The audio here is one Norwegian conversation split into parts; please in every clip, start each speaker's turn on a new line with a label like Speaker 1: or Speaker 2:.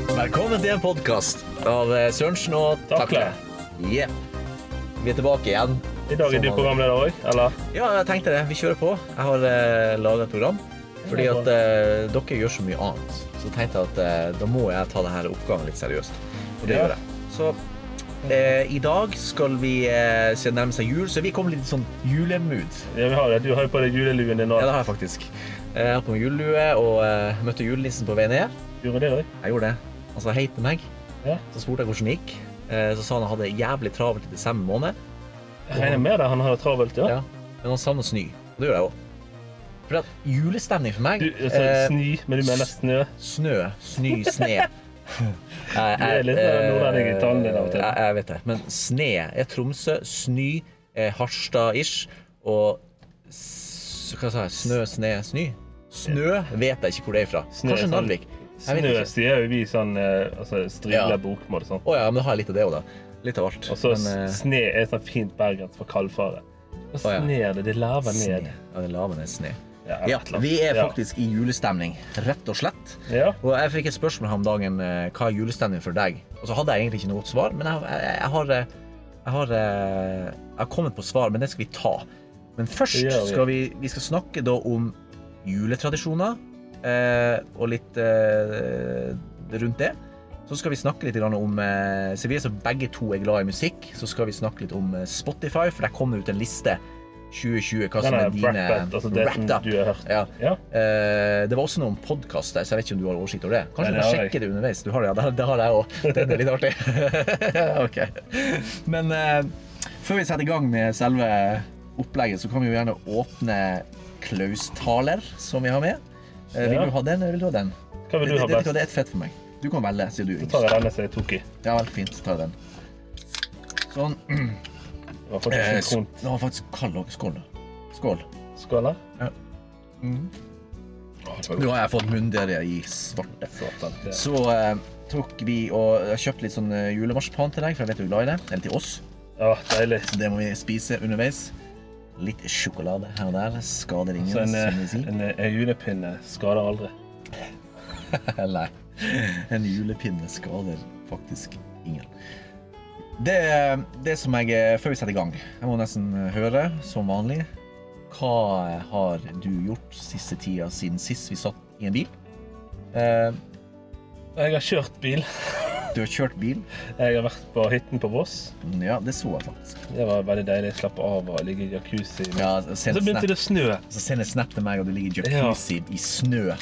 Speaker 1: det er en podkast av eh, Sørensen og
Speaker 2: Takle.
Speaker 1: Yeah. Vi er tilbake igjen.
Speaker 2: I dag er du programleder òg, eller?
Speaker 1: Ja, jeg tenkte det. Vi kjører på. Jeg har eh, laga et program. Fordi at eh, dere gjør så mye annet. Så tenkte jeg at eh, da må jeg ta denne oppgaven litt seriøst. Og det
Speaker 2: Ja.
Speaker 1: gjør jeg. Så eh, i dag skal vi eh, se nærme seg jul, så vi kommer litt i sånn julemood.
Speaker 2: Ja, vi har det. Du har jo på deg juleluen din nå.
Speaker 1: Ja, det har jeg faktisk. Eh, Jeg har på meg julelue og eh, møtte julenissen på vei ned.
Speaker 2: Gjorde det òg?
Speaker 1: Jeg gjorde det. Han sa hei til meg.
Speaker 2: Ja.
Speaker 1: Så spurte jeg hvordan det gikk. Eh, Så sa han han hadde jævlig travelt i desember måned.
Speaker 2: Jeg regner med det. Han har det travelt, ja.
Speaker 1: Ja. Men han savner snø. Og det gjør jeg òg. For at julestemning for meg
Speaker 2: Du, altså,
Speaker 1: eh,
Speaker 2: snø, men du mener snø?
Speaker 1: Snø, snø, sne. Jeg,
Speaker 2: er litt
Speaker 1: eh,
Speaker 2: nordlending i tallene av og til.
Speaker 1: Jeg, jeg vet det. Men sne er Tromsø. Snø er Harstad-ish. Og s- hva sa jeg? Snø, sne, snø? Snø vet jeg ikke hvor det er fra.
Speaker 2: Snø er
Speaker 1: Kanskje
Speaker 2: sånn-
Speaker 1: Narvik. Jeg
Speaker 2: Snø
Speaker 1: vet ikke.
Speaker 2: sier jo vi sånn eh, altså,
Speaker 1: Ja.
Speaker 2: strigla bokmål og sånn.
Speaker 1: Å ja, men da har jeg litt av det òg, da. Litt av alt.
Speaker 2: Og så
Speaker 1: men, eh,
Speaker 2: sne er sånn fint bergensk for kaldfare. Og
Speaker 1: Å, ja.
Speaker 2: sner det. Det laver
Speaker 1: Sne.
Speaker 2: ned.
Speaker 1: Ja, det laver ned sne.
Speaker 2: Ja,
Speaker 1: Ja,
Speaker 2: et eller annet.
Speaker 1: vi er faktisk i julestemning, rett og slett.
Speaker 2: Ja.
Speaker 1: Og jeg fikk et spørsmål her om dagen eh, hva er julestemning for deg? Og så hadde jeg egentlig ikke noe godt svar, men jeg, jeg, jeg, har, eh, jeg, har, eh, jeg har kommet på svar, men det skal vi ta. Men først
Speaker 2: Det gjør vi.
Speaker 1: skal vi, vi skal snakke da om juletradisjoner eh, og litt eh, rundt det. Så skal vi snakke litt grann om eh, Så vi er så begge to er glad i musikk, så skal vi snakke litt om eh, Spotify, for der kommer det ut en liste 2020 hva
Speaker 2: Den
Speaker 1: som
Speaker 2: er
Speaker 1: er dine
Speaker 2: wrapped, altså det som
Speaker 1: Wrapped up.
Speaker 2: du har hørt.
Speaker 1: Ja.
Speaker 2: Ja.
Speaker 1: Eh, det var også noen podkaster, så jeg vet ikke om du har oversikt over det. Kanskje
Speaker 2: Nei,
Speaker 1: du
Speaker 2: det
Speaker 1: kan
Speaker 2: har jeg.
Speaker 1: sjekke det underveis. Du har det, ja. Det, det har jeg òg. Den er litt artig. ok. Men eh, før vi setter i gang med selve opplegget, så kan vi jo gjerne åpne Klaus-taler, som vi har med. Eh, vil
Speaker 2: Ja.
Speaker 1: du ha den, eller vil du ha den?
Speaker 2: Hva
Speaker 1: Det,
Speaker 2: vil
Speaker 1: det,
Speaker 2: du ha
Speaker 1: det,
Speaker 2: best?
Speaker 1: det er et fett for meg. Du kan velge, sier du.
Speaker 2: Så tar jeg denne som jeg Eh, tok i.
Speaker 1: Ja vel, fint. Så tar jeg den. Sånn.
Speaker 2: Det var faktisk
Speaker 1: Eh, sk-
Speaker 2: synkront.
Speaker 1: Den var faktisk kald òg. Skål. da. Skål.
Speaker 2: Skål, da.
Speaker 1: Mm. Nå har jeg fått munndiaré i svarte.
Speaker 2: Satan, det-
Speaker 1: Så eh, tok vi og jeg kjøpte litt sånn eh, julemarsipan til deg, for jeg vet du er glad i det. Eller til oss.
Speaker 2: Ja, deilig.
Speaker 1: Så det må vi spise underveis. Litt sjokolade her og der skader ingen,
Speaker 2: Så en,
Speaker 1: som vi
Speaker 2: eh,
Speaker 1: sier.
Speaker 2: en, eh, en julepinne skader aldri.
Speaker 1: Nei. En julepinne skader faktisk ingen. Det, det som jeg eh, Før vi setter i gang, jeg må nesten eh, høre, som vanlig Hva eh, har du gjort siste tida siden sist vi satt i en bil? Eh,
Speaker 2: Jeg har kjørt bil.
Speaker 1: Du har kjørt bil?
Speaker 2: Jeg har vært på hytten på Voss.
Speaker 1: Ja, det så jeg faktisk.
Speaker 2: Det var veldig deilig. Jeg slapp av og ligge i jacuzzi.
Speaker 1: Ja,
Speaker 2: Så
Speaker 1: send snap.
Speaker 2: begynte det å snø.
Speaker 1: Så send en snap til meg, og du ligger i jacuzzi i snø.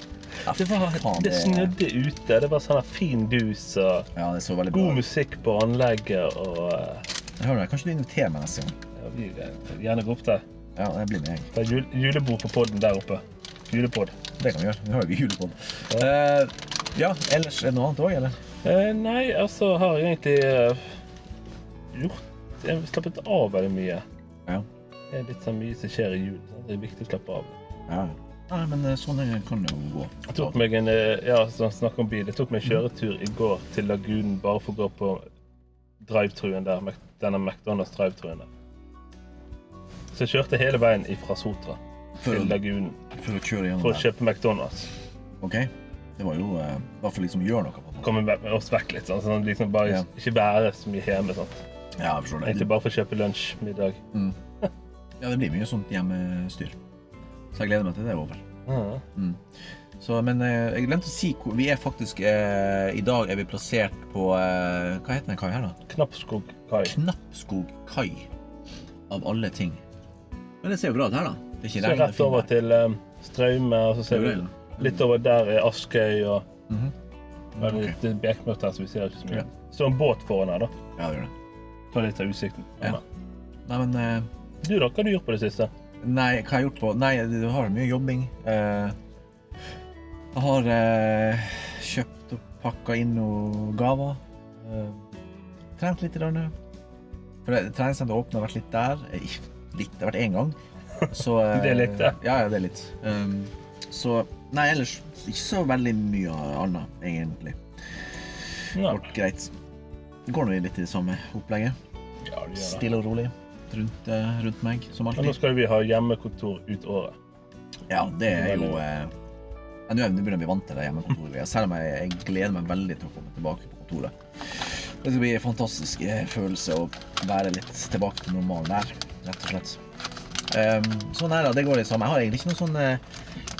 Speaker 1: Ja,
Speaker 2: Det, var,
Speaker 1: faen,
Speaker 2: det snødde ute. Det var sånn her fin dus og
Speaker 1: Ja, det så veldig bra.
Speaker 2: god
Speaker 1: ut.
Speaker 2: musikk på anlegget og eh,
Speaker 1: Hør meg, kanskje du inviterer meg neste gang?
Speaker 2: ja, vi, eh, Gjerne gå opp der.
Speaker 1: Ja, det blir med, jeg.
Speaker 2: Det er jul, julebord på podden der oppe. Julepod.
Speaker 1: Det kan vi gjøre. Nå har vi julepod. Eh, ja, ellers er det noe annet òg, eller?
Speaker 2: Eh, nei, altså har jeg egentlig eh, gjort Jeg har slappet av veldig mye.
Speaker 1: Ja.
Speaker 2: Det er litt sånn mye som skjer i julen. sant? Det er viktig å slappe av.
Speaker 1: ja. Nei, men eh, sånn eh, kan det jo gå.
Speaker 2: Jeg tok meg en eh, ja, sånn snakk om bil. Jeg tok meg en kjøretur i går til Lagunen bare for å gå på drivetruen der. Mac- Denne McDonald's drivetruen der. Så jeg kjørte hele veien fra Sotra
Speaker 1: For,
Speaker 2: til
Speaker 1: å-
Speaker 2: Lagunen
Speaker 1: for å kjøre
Speaker 2: for
Speaker 1: gjennom
Speaker 2: å
Speaker 1: der.
Speaker 2: kjøpe McDonald's.
Speaker 1: OK? Det var jo eh, I hvert fall liksom gjøre noe på det.
Speaker 2: Komme med- med oss vekk litt, sånn. sånn liksom bare
Speaker 1: Ja.
Speaker 2: Ikke være så mye hjemme. sant?
Speaker 1: Ja, jeg forstår
Speaker 2: Egentlig
Speaker 1: det.
Speaker 2: bare for å kjøpe lunsj, middag.
Speaker 1: Ja, det blir mye sånt hjemmestyr. Så jeg gleder meg til det er over.
Speaker 2: Ja.
Speaker 1: Så, men eh, jeg glemte å si hvor Vi er faktisk eh, I dag er vi plassert på eh, Hva heter den kaia her, da?
Speaker 2: Knappskog kai.
Speaker 1: Knappskog kai. Av alle ting. Men det ser jo bra ut her, da. Det er
Speaker 2: Så
Speaker 1: ikke regn.
Speaker 2: rett over til um, Straume, og så ser
Speaker 1: Det er
Speaker 2: vi
Speaker 1: jo det,
Speaker 2: litt over der er Askøy og
Speaker 1: Mhm.
Speaker 2: Ja, det er litt litt bekmørkt her, så vi ser ikke så mye.
Speaker 1: Ja.
Speaker 2: Så en båt foran her, da.
Speaker 1: Ja, det gjør det.
Speaker 2: Ta litt av utsikten.
Speaker 1: Ja. Nei, men eh,
Speaker 2: Du, da? Hva har du gjort på det siste?
Speaker 1: Nei, hva har jeg gjort på Nei, du har mye jobbing. Eh, jeg har eh, kjøpt og pakka inn noen gaver. Eh, trent litt. Grann. For det- treningssenteret åpna, vært litt der. Eh, ikke Litt, det har vært én gang. Så, eh,
Speaker 2: Det er litt, ja.
Speaker 1: Ja, ja, det er litt. Um, så Nei, ellers ikke så veldig mye annet, egentlig.
Speaker 2: Ja,
Speaker 1: Kort, greit. Det går nå i litt i det samme opplegget.
Speaker 2: ja du gjør det.
Speaker 1: Stille og rolig rundt, eh, rundt meg, som
Speaker 2: Men nå
Speaker 1: alltid.
Speaker 2: skal vi ha hjemmekontor ut året.
Speaker 1: Ja, det er jo eh, ja, Nå er- nå begynner jeg å bli vant til det hjemmekontoret. Selv om jeg, jeg gleder meg veldig til å komme tilbake på kontoret. Det skal bli en fantastisk eh, følelse å være litt tilbake til normalen der, rett og slett. Ehm, sånn er det, det går litt sammen. Jeg har egentlig ikke noe sånn eh,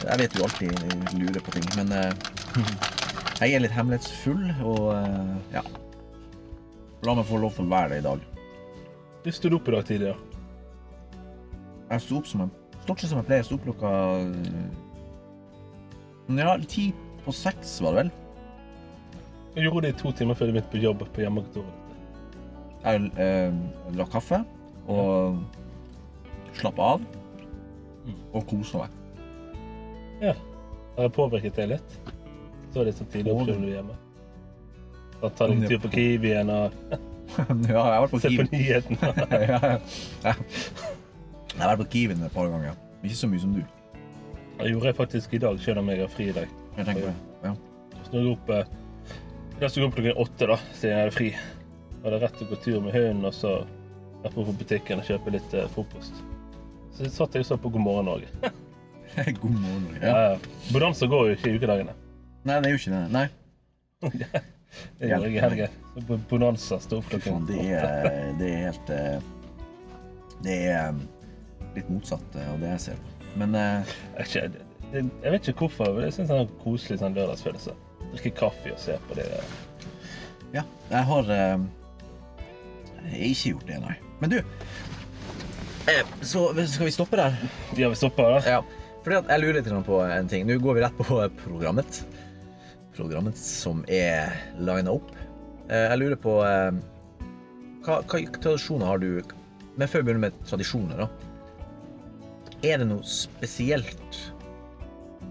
Speaker 1: Jeg vet du alltid lurer på ting, men eh, jeg er litt hemmelighetsfull, og eh, ja. La meg få lov til å være det i dag.
Speaker 2: Du stod opp i dag tidligere.
Speaker 1: Jeg sto opp som jeg, stort sett som jeg pleier. Sto opp klokka eh, Ja, ti på seks, var det vel?
Speaker 2: Jeg gjorde det i to timer før du begynte på jobb på hjemmekontoret.
Speaker 1: Jeg eh, drakk kaffe og slappa av og kosa meg.
Speaker 2: Ja. Har jeg påvirket deg litt? Så er det så tidlig opp når du er hjemme. Da tar du en tur på Kiwien og
Speaker 1: ja, jeg har vært på
Speaker 2: ser på
Speaker 1: Kiwi.
Speaker 2: nyhetene.
Speaker 1: Ja, ja. jeg har vært på Kiwien et par ganger. Men ikke så mye som du.
Speaker 2: Det gjorde jeg faktisk i dag, selv om jeg har fri i dag.
Speaker 1: Jeg tenker det. Ja.
Speaker 2: Så når jeg opp, eh, da sto jeg opp klokken åtte, da, siden jeg hadde fri. Jeg hadde rett til å gå tur med hunden og så rett på butikken og kjøpe litt eh, frokost. Så satt jeg og så på God morgen Norge.
Speaker 1: God morgen. Ja.
Speaker 2: Ja. ja. Bonanza går jo ikke i ukedagene.
Speaker 1: Nei, det er jo ikke det. Nei.
Speaker 2: Det gjør jeg i helgen. Så Bo- Bonanza sto opp
Speaker 1: Fy faen,
Speaker 2: klokken
Speaker 1: det er, det er helt eh, Det er eh, litt motsatt eh, av det jeg ser på. Men eh,
Speaker 2: Jeg vet ikke- det- jeg vet ikke hvorfor, men jeg syns det er en koselig sånn lørdagsfølelse. Drikke kaffe og se på det.
Speaker 1: ja, jeg har eh, jeg har ikke gjort det, nei. Men du eh, Så skal vi stoppe der?
Speaker 2: Ja, vi stopper der.
Speaker 1: Ja. Fordi at jeg lurer litt grann på en ting. Nå går vi rett på programmet. Programmet som er lina opp. Eh, Jeg lurer på eh, hva, hva tradisjoner har du Men før vi begynner med tradisjoner, da. Er det noe spesielt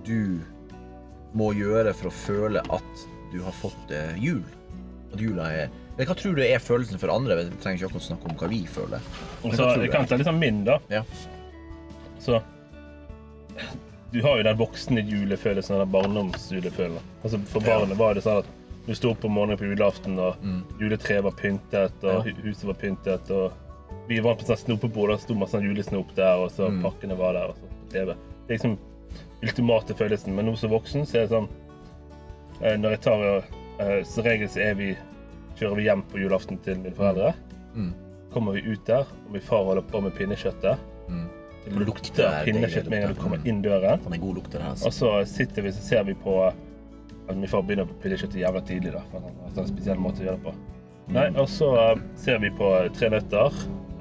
Speaker 1: du må gjøre for å føle at du har fått eh, jul? At jula er Eller hva tror du er følelsen for andre? Vi trenger ikke akkurat snakke om hva vi føler.
Speaker 2: Og
Speaker 1: Men
Speaker 2: så
Speaker 1: hva tror
Speaker 2: jeg
Speaker 1: du?
Speaker 2: kan ta litt sånn min, da.
Speaker 1: Ja.
Speaker 2: Så Du har jo den voksne julefølelsen og den barndomsjulefølelsen. Altså, for
Speaker 1: Ja. Mm.
Speaker 2: barnet var det sånn at du sto opp om morgenen på julaften, og juletreet var pyntet, og
Speaker 1: Ja.
Speaker 2: hu- huset var pyntet, og vi var på sånn snopebord, og det sto masse sånn julesnop der, og så
Speaker 1: Mm.
Speaker 2: pakkene var der, og så på TV. Det er liksom ultimate følelsen. Men nå som voksen, så er det sånn eh, Når jeg tar eh, Som regel så er vi Kjører vi hjem på julaften til mine foreldre.
Speaker 1: Mm.
Speaker 2: Kommer vi ut der, og min far holder på med pinnekjøttet.
Speaker 1: Mm.
Speaker 2: Det
Speaker 1: Lukter
Speaker 2: lukter pinnekjøtt med en gang du kommer
Speaker 1: Mm.
Speaker 2: inn døren.
Speaker 1: Han er god lukter her. altså.
Speaker 2: Og så sitter vi så ser vi på at Min far begynner på pinnekjøttet jævla tidlig. da, for han har en spesiell måte å gjøre det på.
Speaker 1: Mm.
Speaker 2: Nei, Og så eh, ser vi på Tre nøtter,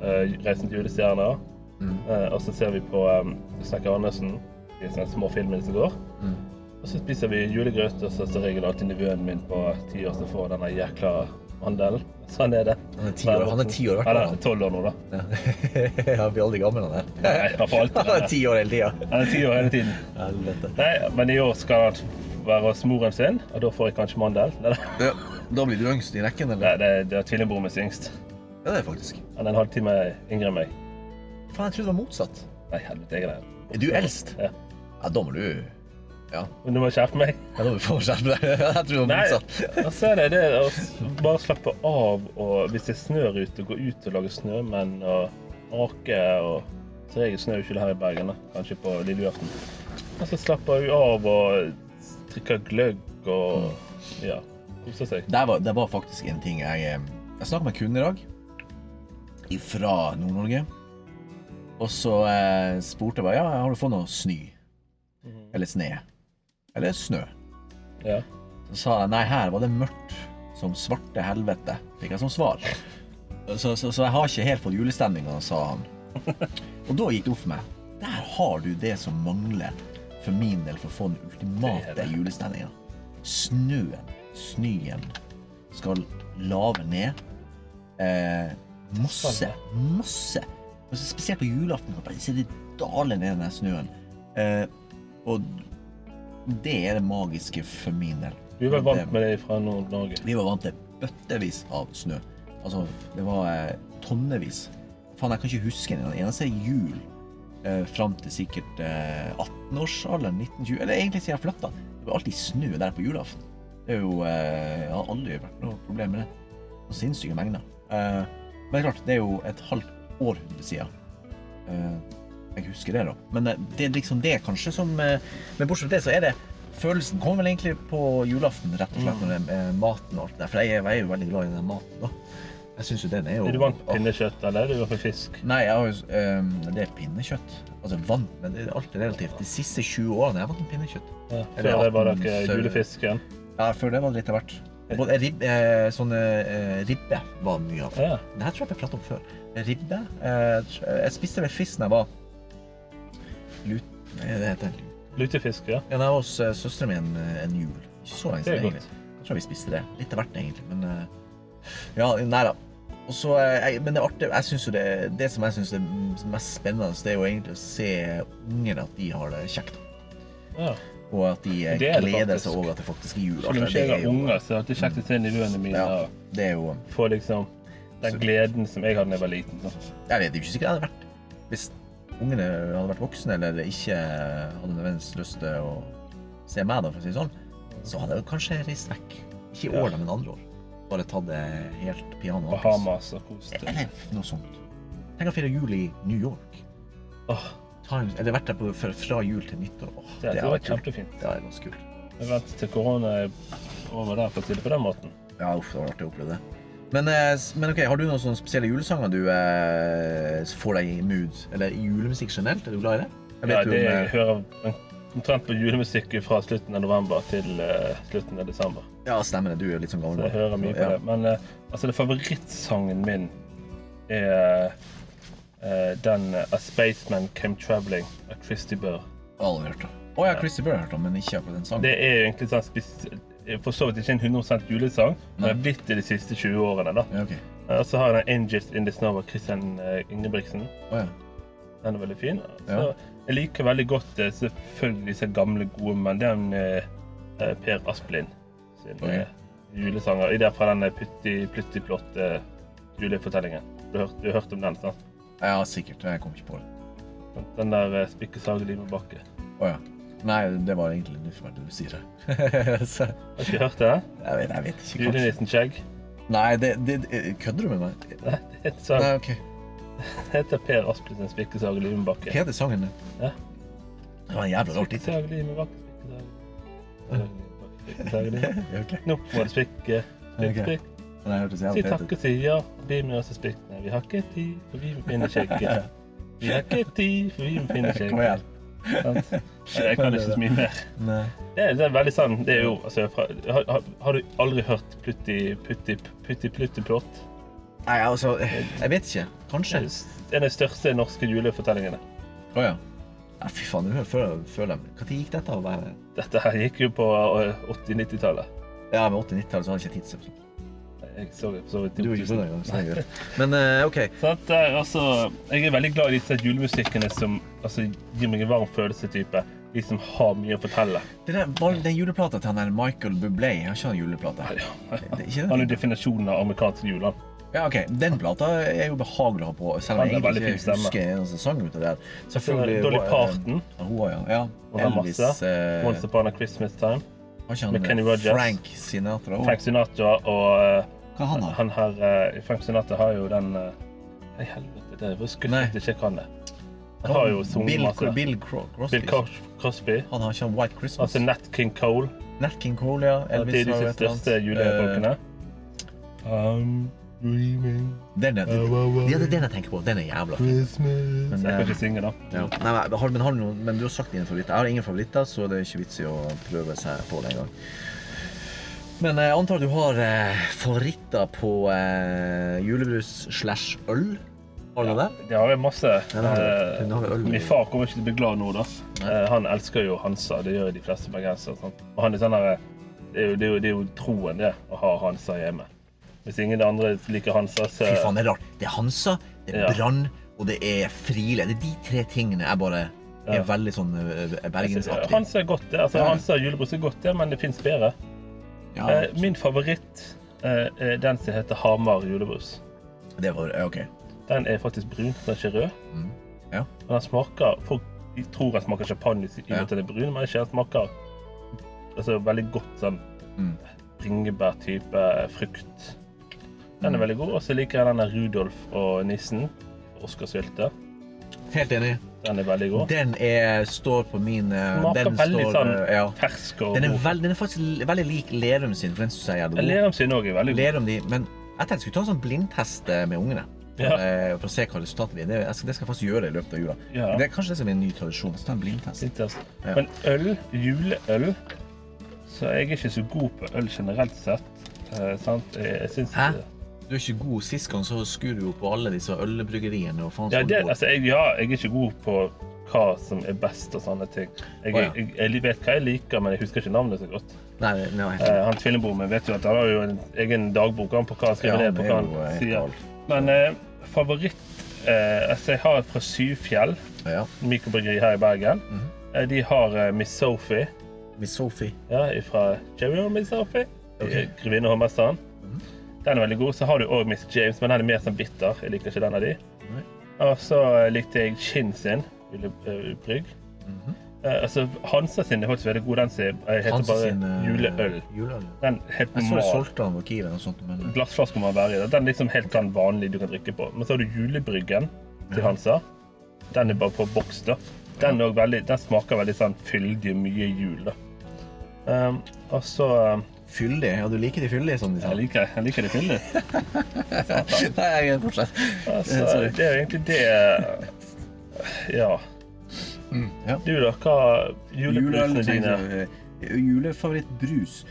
Speaker 2: eh, Reisen til julestjerner.
Speaker 1: Mm.
Speaker 2: eh, Og så ser vi på um, Snekker Andersen, de sånne små filmene som går.
Speaker 1: Mm.
Speaker 2: Og så spiser vi julegrøt, og så er som regel alltid nevøen min på ti år som får denne jækla mandelen. Sånn er det.
Speaker 1: Han er ti år, han er ti år i hvert fall, han.
Speaker 2: Tolv år nå, da.
Speaker 1: Ja. Han blir aldri gammel, han
Speaker 2: Nei,
Speaker 1: der.
Speaker 2: han får alltid
Speaker 1: Han er
Speaker 2: være-
Speaker 1: ti år hele tida.
Speaker 2: han er ti år hele tiden.
Speaker 1: Helvete.
Speaker 2: Nei, men i år skal han være hos moren sin, og da får jeg kanskje mandel. Nei, da.
Speaker 1: Ja, Da blir du yngst i rekken,
Speaker 2: Nei,
Speaker 1: eller?
Speaker 2: det, det er tvillingbroren min som er yngst.
Speaker 1: Ja, det er faktisk.
Speaker 2: Han er en halvtime yngre enn meg.
Speaker 1: Faen, jeg trodde det var motsatt.
Speaker 2: Nei, helvete, jeg er det.
Speaker 1: Er du eldst?
Speaker 2: Ja.
Speaker 1: Ja, da må du Ja,
Speaker 2: Men du må skjerpe meg.
Speaker 1: ja da må du få skjerpe deg. Jeg trodde det var
Speaker 2: Nei,
Speaker 1: motsatt.
Speaker 2: og så er det det å s- bare slappe av og hvis det snør ute, gå ut og lage snømenn og ake og Så regel snør jo ikke det her i Bergen, da. Kanskje på lille julaften. Og så slapper hun av og s- drikker gløgg og ja, koser seg.
Speaker 1: Det var, det var faktisk en ting jeg eh, Jeg snakket med en kunde i dag fra Nord-Norge. Og så eh, spurte jeg bare ja, har du fått noe snø. Eller sne. Eller snø.
Speaker 2: Ja.
Speaker 1: Så sa jeg nei, her var det mørkt som svarte helvete, fikk jeg som svar. Så, så, så jeg har ikke helt fått julestemninga, sa han. Og da gikk det opp for meg. Der har du det som mangler for min del for å få den
Speaker 2: Det er
Speaker 1: ultimate
Speaker 2: det.
Speaker 1: julestemninga. Snøen, snøen, skal lave ned. Eh, masse, masse. Og så spesielt på julaften, kan du bare se det daler ned den der snøen. Eh, og det er det magiske for min del.
Speaker 2: Du er vel vant med det fra Nord-Norge?
Speaker 1: Vi var vant til bøttevis av snø. Altså, det var eh, tonnevis. Faen, jeg kan ikke huske en eneste jul eh, fram til sikkert eh, 18-årsalderen, 1920, eller egentlig siden jeg flytta. Det var alltid snø der på julaften. Det er jo eh, Jeg har aldri vært noe problem med det. Noen sinnssyke mengder. Eh, men det er klart, det er jo et halvt århundre siden. Eh, jeg husker det, da. Men eh, det er liksom det, kanskje, som eh, Men bortsett fra det, så er det følelsen kom vel egentlig på julaften, rett og
Speaker 2: Mm.
Speaker 1: slett, når det er eh, maten og alt det der. For jeg er, jeg er jo veldig glad i den maten, da. Jeg synes jo den er jo
Speaker 2: Er du vant
Speaker 1: Åh.
Speaker 2: til pinnekjøtt, eller er du i hvert fall fisk?
Speaker 1: Nei, jeg har jo ehm, Det er pinnekjøtt. Altså vant, men det er alltid relativt. De siste 20 årene har jeg vant med pinnekjøtt.
Speaker 2: Ja.
Speaker 1: Er det
Speaker 2: Før det var dere
Speaker 1: 18 sau-
Speaker 2: julefisken.
Speaker 1: Ja, før det var det litt av hvert. Og Både rib, eh, sånne eh, ribbe var mye av.
Speaker 2: Ja.
Speaker 1: Det her tror jeg vi pratet om før. Ribbe. Eh, jeg spiste vel fisk da jeg var Lut... Hva er det heter det?
Speaker 2: Lutefisk, ja.
Speaker 1: Ja, det var hos eh, søsteren min eh, en jul. Ikke så lenge
Speaker 2: Det er
Speaker 1: siden,
Speaker 2: godt.
Speaker 1: egentlig. Jeg tror vi spiste det. Litt av hvert, egentlig. Men eh, ja, nei da. Og så, eh, jeg- men det artige jeg synes jo det, det som jeg syns er mest spennende, det er jo egentlig å se ungene at de har det kjekt.
Speaker 2: ja.
Speaker 1: Og at de eh,
Speaker 2: Det er det
Speaker 1: gleder
Speaker 2: faktisk.
Speaker 1: seg over at det faktisk er jul.
Speaker 2: Selv om
Speaker 1: Altså,
Speaker 2: ikke
Speaker 1: det,
Speaker 2: jeg
Speaker 1: er
Speaker 2: har
Speaker 1: jo,
Speaker 2: unger, så er det kjekt å se nivåene mine
Speaker 1: Ja.
Speaker 2: og
Speaker 1: det er jo
Speaker 2: få liksom den
Speaker 1: Så-
Speaker 2: gleden som jeg hadde da jeg var liten. sånn. sant?
Speaker 1: Jeg vet det er jo ikke sikkert jeg hadde vært hvis ungene hadde vært voksne eller ikke hadde nødvendigvis lyst til å se meg, da, for å si det sånn, så hadde jeg kanskje reist vekk. Ikke i år, da, men andre år. Bare tatt det helt piano.
Speaker 2: Bahamas og koste.
Speaker 1: Eller noe sånt. Tenk å feire jul i New York.
Speaker 2: Åh,
Speaker 1: Times, eller vært der på, fra, fra jul til nyttår. Åh,
Speaker 2: det, det
Speaker 1: hadde
Speaker 2: var
Speaker 1: vært kult.
Speaker 2: kjempefint.
Speaker 1: Det hadde vært ganske kult.
Speaker 2: Jeg ventet til korona er over der for å si det på den måten.
Speaker 1: Ja, uff, det var artig å oppleve det. Men, eh, s- men ok, har du noen sånne spesielle julesanger du eh, får deg i mood? Eller julemusikk generelt? Er du glad i det? Jeg
Speaker 2: Ja,
Speaker 1: vet jo om,
Speaker 2: det
Speaker 1: eh,
Speaker 2: jeg hører omtrent på julemusikk fra slutten av november til eh, slutten av desember.
Speaker 1: Ja, stemmer det. Du er jo litt sånn gammel.
Speaker 2: Så jeg hører mye på det. Men eh, altså, det favorittsangen min er eh, den eh, A Spaceman Came Traveling av Christy Burr.
Speaker 1: Alle har hørt om. Å ja, Chrissy Burr har hørt om, men ikke akkurat den sangen.
Speaker 2: Det er jo egentlig sånn spes- for så vidt ikke en 100 julesang, men det har blitt det de siste 20 årene. da.
Speaker 1: Ja, ok.
Speaker 2: Eh, Og så har jeg den 'Angels In The Snow' av Christian eh, Ingebrigtsen.
Speaker 1: Å ja.
Speaker 2: Den er veldig fin. Så
Speaker 1: Ja.
Speaker 2: Jeg liker veldig godt eh, selvfølgelig disse gamle, gode, men den eh, eh, Per Asplin sin
Speaker 1: Ok.
Speaker 2: eh, julesanger. I det fra den eh, Putti Plutti Plott eh, julefortellingen. Du har, hørt, du har hørt om den, sant?
Speaker 1: ja, sikkert. Jeg kom ikke på det.
Speaker 2: Den der eh, 'Spikke sage livet bakke'.
Speaker 1: Å ja. Nei, det var egentlig nuffverdig du sier det. Så,
Speaker 2: Har ikke hørt det?
Speaker 1: jeg, vet, jeg vet ikke. Kanskje.
Speaker 2: Julenissen Skjegg.
Speaker 1: Nei, det, det, det- kødder du med meg?
Speaker 2: Nei, det heter, sånn.
Speaker 1: Nei, ok.
Speaker 2: Det heter Per Asplin sin 'Spikke sage livet bakke'.
Speaker 1: Hva heter sangen din?
Speaker 2: Ja.
Speaker 1: Det var en jævla rar tittel.
Speaker 2: Spikkesag, livet bakke, spikkesag. Spikkesag, livet bakke, spikkesag, livet.
Speaker 1: Ja, ok.
Speaker 2: Nå må du spikke. Spikk,
Speaker 1: Ok.
Speaker 2: spikk.
Speaker 1: Den her hørtes
Speaker 2: Si
Speaker 1: jævla
Speaker 2: takk
Speaker 1: teit ut.
Speaker 2: og si ja, bli med oss og spikk. Nei, vi har ikke tid, for vi må finne kjekken. Vi har ikke tid, for vi må finne kjekken.
Speaker 1: Kom igjen.
Speaker 2: Sant? Nei, Jeg kan ikke så mye mer.
Speaker 1: Nei.
Speaker 2: Det er, det er veldig sant. Det er jo, altså, fra, har, har- har du aldri hørt Plutti Putti Putti Plutti Plott?
Speaker 1: Nei, altså, jeg vet ikke.
Speaker 2: Det
Speaker 1: Kanskje.
Speaker 2: er En av de største norske julefortellingene.
Speaker 1: Å ja. Ja, fy faen, du hører før- før dem. Når gikk dette av å være
Speaker 2: Dette her gikk jo på eh, 80-90-tallet.
Speaker 1: Ja, med 80-90-tallet så hadde jeg ikke tid til det.
Speaker 2: Jeg så det for så vidt i
Speaker 1: Du er ikke
Speaker 2: 2000.
Speaker 1: sånn engang, så jeg gjør det. Men eh, OK.
Speaker 2: Så at, eh, altså, jeg er veldig glad i disse julemusikkene som altså, gir meg en varm følelse-type. De som har mye å fortelle.
Speaker 1: Det der, var den juleplata til han der Michael Bublé, har ikke han juleplate?
Speaker 2: Ja,
Speaker 1: Det er ikke
Speaker 2: Han er
Speaker 1: den?
Speaker 2: jo definisjonen av amerikansk juleland.
Speaker 1: Ja, ok. Den plata er jo behagelig å ha på, selv om jeg
Speaker 2: Han har veldig
Speaker 1: egentlig
Speaker 2: fin
Speaker 1: ikke
Speaker 2: stemme.
Speaker 1: husker en eneste sang ut av det. her. Selvfølgelig
Speaker 2: Dolly
Speaker 1: var-
Speaker 2: Parton.
Speaker 1: Ja, Hun var, ja. ja.
Speaker 2: Og det er
Speaker 1: Elvis
Speaker 2: masse.
Speaker 1: eh,
Speaker 2: Once upon a Christmas time.
Speaker 1: Har ikke han
Speaker 2: med Kenny
Speaker 1: eh,
Speaker 2: Rogers.
Speaker 1: Frank Sinatra òg?
Speaker 2: Frank Sinatra og
Speaker 1: Hva han
Speaker 2: eh,
Speaker 1: har?
Speaker 2: han her eh, Frank Sinatra har jo den eh, Nei, helvete, det er skuffet
Speaker 1: Nei.
Speaker 2: at jeg ikke kan det. Han har jo sunget
Speaker 1: Bill,
Speaker 2: masse.
Speaker 1: Bill Cro Crosby.
Speaker 2: Bill Cros- Crosby.
Speaker 1: Han har ikke han White Christmas.
Speaker 2: Altså Nat King Cole.
Speaker 1: Nat King Cole, ja.
Speaker 2: det er
Speaker 1: Elvis
Speaker 2: de
Speaker 1: har jo
Speaker 2: sitt
Speaker 1: et eller annet.
Speaker 2: største julefolkene.
Speaker 1: Eh,
Speaker 2: I'm dreaming
Speaker 1: Den er
Speaker 2: of a
Speaker 1: ja, det er
Speaker 2: white
Speaker 1: den jeg tenker på. Den er jævla fin.
Speaker 2: Christmas.
Speaker 1: Men,
Speaker 2: Så jeg
Speaker 1: eh,
Speaker 2: kan ikke synge, da.
Speaker 1: Ja. Nei, nei, har, men, har du noen, men du har sagt dine favoritter. Jeg har ingen favoritter, så det er ikke vits i å prøve seg på det engang. Men eh, jeg antar du har eh, favoritter på eh, julebrus slash øl? Har du det?
Speaker 2: Det har jeg masse.
Speaker 1: det har vi.
Speaker 2: Eh,
Speaker 1: Den har vi øl i.
Speaker 2: Min far kommer ikke til å bli glad nå, da.
Speaker 1: Nei.
Speaker 2: Eh, Han elsker jo Hansa, det gjør jo de fleste bergensere. sant? Og han er sånn der, det, er jo, det, er jo, det er jo troen, det, å ha Hansa hjemme. Hvis ingen andre liker Hansa, så
Speaker 1: Fy faen, det er rart. Det er Hansa, det er
Speaker 2: Ja.
Speaker 1: Brann og det er Friele. Det er de tre tingene jeg bare er
Speaker 2: Ja.
Speaker 1: veldig sånn eh, bergensaktig.
Speaker 2: Hansa er godt, det. Altså,
Speaker 1: Ja.
Speaker 2: Hansa og julebrus er godt, det, men det fins bedre.
Speaker 1: Ja,
Speaker 2: Eh, Min favoritt eh, er den som heter Hamar julebrus.
Speaker 1: det var ja, OK.
Speaker 2: Den er faktisk brun, den er ikke rød.
Speaker 1: Mm. Ja.
Speaker 2: Men den smaker Folk de tror den smaker champagne i og med
Speaker 1: Ja.
Speaker 2: at den er brun, men ikke den smaker altså, veldig godt sånn
Speaker 1: Mm.
Speaker 2: bringebærtype eh, frukt.
Speaker 1: Mm.
Speaker 2: Den er veldig god. Og så liker jeg den der Rudolf og nissen. Oscar Sylte.
Speaker 1: Helt enig.
Speaker 2: Den er veldig god.
Speaker 1: Den er, står på min eh,
Speaker 2: Smaker
Speaker 1: den
Speaker 2: veldig
Speaker 1: står,
Speaker 2: sånn
Speaker 1: eh, ja.
Speaker 2: fersk og
Speaker 1: den, er
Speaker 2: god.
Speaker 1: veld, den er faktisk l- veldig lik Lerum sin, for den synes jeg er jævlig god.
Speaker 2: Lerum sin òg er veldig god.
Speaker 1: Lerum, de, men jeg tenkte jeg skulle ta en sånn blindtest eh, med ungene.
Speaker 2: Ja.
Speaker 1: eh, For å se hva resultatet blir. Det, jeg skal- det skal jeg faktisk gjøre i løpet av jula.
Speaker 2: Ja.
Speaker 1: Det er kanskje det som er en ny tradisjon. Så ta en blindtest.
Speaker 2: Sitters.
Speaker 1: Ja.
Speaker 2: Men øl, juleøl Så jeg er ikke så god på øl generelt sett. Eh, sant? Jeg, jeg syns
Speaker 1: Hæ? Du er ikke god. Sist gang så skur du jo på alle disse ølbryggeriene og faen
Speaker 2: Ja,
Speaker 1: som
Speaker 2: det,
Speaker 1: går.
Speaker 2: altså, jeg, ja, jeg er ikke god på hva som er best og sånne ting. Jeg,
Speaker 1: Å, ja.
Speaker 2: jeg, jeg vet hva jeg liker, men jeg husker ikke navnet så godt.
Speaker 1: Nei, nei, nei.
Speaker 2: Eh, han tvillingbror min vet jo at han har jo en egen dagbok han på hva han
Speaker 1: Ja,
Speaker 2: skriver ned på
Speaker 1: det er
Speaker 2: hva
Speaker 1: jo, eh,
Speaker 2: han
Speaker 1: helt
Speaker 2: sier.
Speaker 1: galt.
Speaker 2: Men eh, favoritt eh, Altså, jeg har et fra Syvfjell,
Speaker 1: Ja.
Speaker 2: mikrobryggeri her i Bergen.
Speaker 1: Mhm.
Speaker 2: eh, de har eh, Miss Sophie.
Speaker 1: Miss Sophie.
Speaker 2: Ja, fra Cheerio Miss Sophie.
Speaker 1: Ok. Mhm.
Speaker 2: Grevinne og hovmesteren. Den er veldig god. Så har du òg Miss James, men den er mer sånn bitter. Jeg liker ikke den av de.
Speaker 1: Nei.
Speaker 2: Og så eh, likte jeg Kinn sin, Ulle eh, Brygg.
Speaker 1: Mhm.
Speaker 2: Eh, altså, Hansa sin er faktisk veldig god. Den sin eh, heter
Speaker 1: Hansen
Speaker 2: bare
Speaker 1: sin, eh,
Speaker 2: Juleøl.
Speaker 1: juleøl.
Speaker 2: Den er helt
Speaker 1: Jeg så du
Speaker 2: normal.
Speaker 1: solgte den på Kiwi eller noe sånt. Men... eh,
Speaker 2: Glassflaske må være i. det. Den er liksom helt sånn vanlig du kan drikke på. Men så har du Julebryggen til Hansa. Den er bare på boks, da. Den, er også veldig, den smaker veldig sånn fyldig, mye jul, da. Um, og så eh,
Speaker 1: Fyldig? Ja, du liker de fyldige, som de sa.
Speaker 2: Jeg liker, jeg liker det fyldig.
Speaker 1: Nei, jeg er fortsatt
Speaker 2: Altså,
Speaker 1: Sorry.
Speaker 2: det er jo egentlig det eh, Ja.
Speaker 1: ja.
Speaker 2: Du, da? Hva Julebrusene dine?
Speaker 1: Juleøl. Eh, Julefavorittbrus.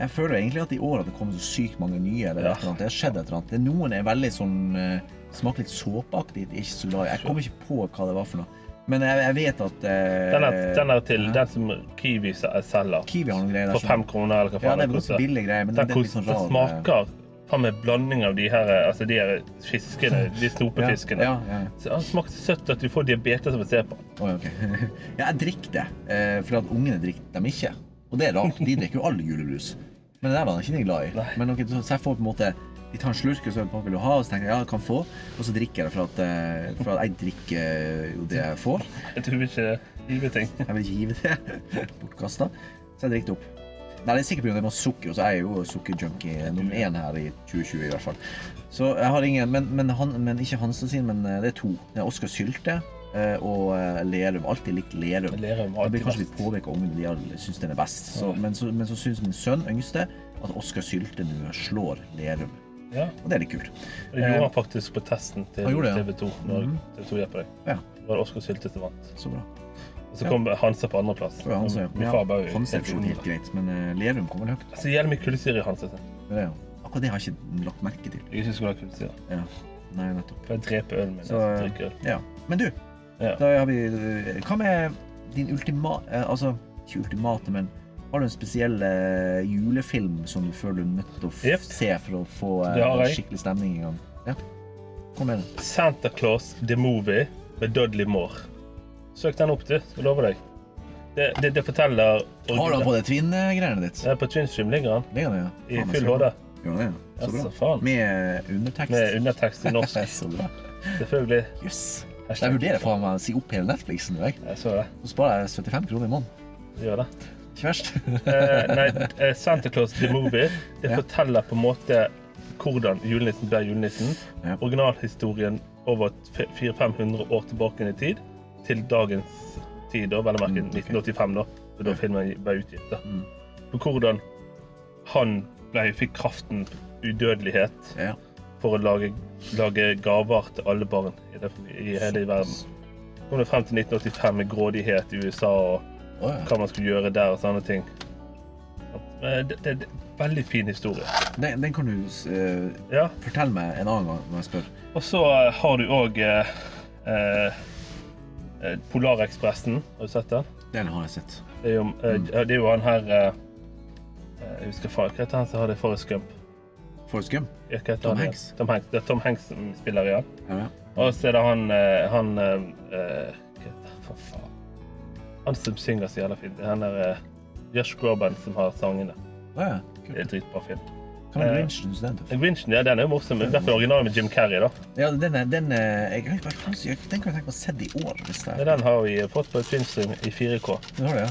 Speaker 1: Jeg føler egentlig at i år at det kommer så sykt mange nye. eller
Speaker 2: Ja.
Speaker 1: et eller annet. Det har skjedd et eller annet. Det- Noen er veldig sånn eh, Smaker litt såpeaktig. Ikke så glad i. Jeg kommer ikke på hva det var for noe. Men jeg, jeg vet at eh,
Speaker 2: Den er, den er til
Speaker 1: ja.
Speaker 2: den som Kiwi eh, selger.
Speaker 1: Kiwi har noen greier der.
Speaker 2: For fem kroner, eller hva
Speaker 1: Ja,
Speaker 2: faen
Speaker 1: det er
Speaker 2: det
Speaker 1: ganske
Speaker 2: koster.
Speaker 1: billige greier, men det,
Speaker 2: Den
Speaker 1: det er litt sånn
Speaker 2: koster
Speaker 1: rar. eh,
Speaker 2: smaker faen meg blanding av de her Altså de her fiskene, de snopefiskene.
Speaker 1: eh, Ja, ja, ja.
Speaker 2: Så han smakte søtt at du får diabetes av å se på.
Speaker 1: Å, ja, ok. ja, jeg drikker det, eh, for at ungene drikker dem ikke. Og det er rart, de drikker jo all julebrus. Men det der var han ikke de glad i.
Speaker 2: Nei.
Speaker 1: Men ok, så så jeg får på en måte De tar en slurk, og så hva vil du ha, og så tenker jeg ja, jeg kan få. Og så drikker jeg det for at, eh, for at jeg drikker eh, jo det jeg får.
Speaker 2: Jeg tror ikke Give ting.
Speaker 1: Jeg vil ikke hive det bortkasta. Så jeg drikker det opp. Nei, det er sikkert pga. det med sukker, og så er jeg jo sukkerjunkie nummer én her i 2020 i hvert fall. Så jeg har ingen, men, men, han, men ikke Hansen sin, men eh, det er to. Det er Oskar Sylte eh, og eh, Lerum. Alltid likt Lerum.
Speaker 2: Lerum
Speaker 1: Jeg
Speaker 2: har
Speaker 1: blir kanskje
Speaker 2: alltid
Speaker 1: litt påvirka av ungene, de har- syns den er best. Så, men, så, men så syns min sønn, yngste, at Oskar Sylte nå slår Lerum.
Speaker 2: Ja.
Speaker 1: Og det er litt kult.
Speaker 2: Og Det gjorde han faktisk på testen til
Speaker 1: Eh. Han gjorde det, ja. Mhm.
Speaker 2: TV 2. Når TV 2 hjalp deg.
Speaker 1: Ja.
Speaker 2: Det var Oskar Sylte som vant.
Speaker 1: Så bra.
Speaker 2: Og så kom Hansa på andreplass.
Speaker 1: Så Hans er
Speaker 2: Min far var
Speaker 1: ja,
Speaker 2: jo
Speaker 1: Hans er
Speaker 2: helt
Speaker 1: for så vidt helt
Speaker 2: unik.
Speaker 1: greit, men eh, Lerum kommer vel høyt.
Speaker 2: Altså, jævlig mye kullsyre i Hansa. sin.
Speaker 1: Det er det, jo. Akkurat det har jeg ikke lagt merke til.
Speaker 2: Jeg er ikke skulle ha kullsyre.
Speaker 1: Ja. Nei, nettopp.
Speaker 2: For jeg dreper ølen min.
Speaker 1: Så, eh,
Speaker 2: jeg drikker øl.
Speaker 1: Ja. Men du,
Speaker 2: Ja.
Speaker 1: da har vi eh, Hva med din ultima... eh, Altså, ikke ultimate, men har du en spesiell eh, julefilm som du føler du er nødt til å f
Speaker 2: Jepp.
Speaker 1: se for å få eh,
Speaker 2: Det har
Speaker 1: en
Speaker 2: jeg.
Speaker 1: skikkelig stemning i gang? Ja. Kom med den.
Speaker 2: Santa Claus The Movie med Dudley Moore. Søk den opp, du. Skal love deg. Det, det, det forteller
Speaker 1: Har du han på det twin-greiene ditt?
Speaker 2: Ja, på Twinstream ligger han.
Speaker 1: Ligger det, ja? Faen,
Speaker 2: I
Speaker 1: jeg
Speaker 2: full
Speaker 1: skal-
Speaker 2: HD.
Speaker 1: Gjør det, ja. Så
Speaker 2: Altså,
Speaker 1: bra.
Speaker 2: faen.
Speaker 1: Med eh, undertekst.
Speaker 2: Med undertekst i norsk,
Speaker 1: så bra.
Speaker 2: selvfølgelig.
Speaker 1: Jøss.
Speaker 2: Hashtag-
Speaker 1: Jeg vurderer faen meg å si opp hele Netflixen. Jeg.
Speaker 2: Jeg så det.
Speaker 1: Så sparer jeg 75 kroner i måneden.
Speaker 2: Det Gjør det.
Speaker 1: Ikke verst.
Speaker 2: Eh, nei, eh, Santa Claus The Movie det
Speaker 1: Ja.
Speaker 2: forteller på en måte hvordan julenissen ble julenissen.
Speaker 1: Ja.
Speaker 2: Originalhistorien over f- 400-500 år tilbake i tid til dagens tid, da, vel å merke
Speaker 1: Mm, ok.
Speaker 2: 1985, da, da
Speaker 1: Ja.
Speaker 2: filmen ble utgitt. da.
Speaker 1: Mm.
Speaker 2: På hvordan han ble, fikk kraften udødelighet
Speaker 1: Ja.
Speaker 2: for å lage, lage gaver til alle barn i, det, i hele verden. Kom det frem til 1985 med grådighet i USA og
Speaker 1: Å, ja.
Speaker 2: hva man skulle gjøre der og sånne ting. At, eh, Det, det, det er en veldig fin historie.
Speaker 1: Den, den kan du eh,
Speaker 2: Ja.
Speaker 1: fortelle meg en annen gang når jeg spør.
Speaker 2: Og så eh, har du òg eh, eh, eh, Polarekspressen. Har du sett den?
Speaker 1: Den har jeg sett.
Speaker 2: Det er jo, eh, det er jo han her eh, eh, Jeg husker faen hva heter han som hadde Forrest Gump.
Speaker 1: Forrest Gump.
Speaker 2: Ja, hva heter Tom han?
Speaker 1: Hanks.
Speaker 2: Tom Hanks. Det er Tom Hanks som spiller i han.
Speaker 1: Ja, ja.
Speaker 2: Og så er det han eh, Han eh, eh, Hva heter han? For faen. Han som synger så jævla fint. Det er han der eh, Josh Groban som har sangene.
Speaker 1: Å, ja.
Speaker 2: Det er
Speaker 1: Kult.
Speaker 2: en dritbra film.
Speaker 1: Hva med
Speaker 2: Eh,
Speaker 1: Grinchen? så Den, er tøff.
Speaker 2: Grinchen, ja, den er jo morsom. men I hvert fall originalen med Jim Carrey, da.
Speaker 1: ja, den, er- den, eh, jeg, vet ikke hva faen som gjør- den kan jeg tenke meg å se i år. Hvis det
Speaker 2: Ja,
Speaker 1: er.
Speaker 2: Den har vi fått på et filmstream i 4K.
Speaker 1: Den har det, ja.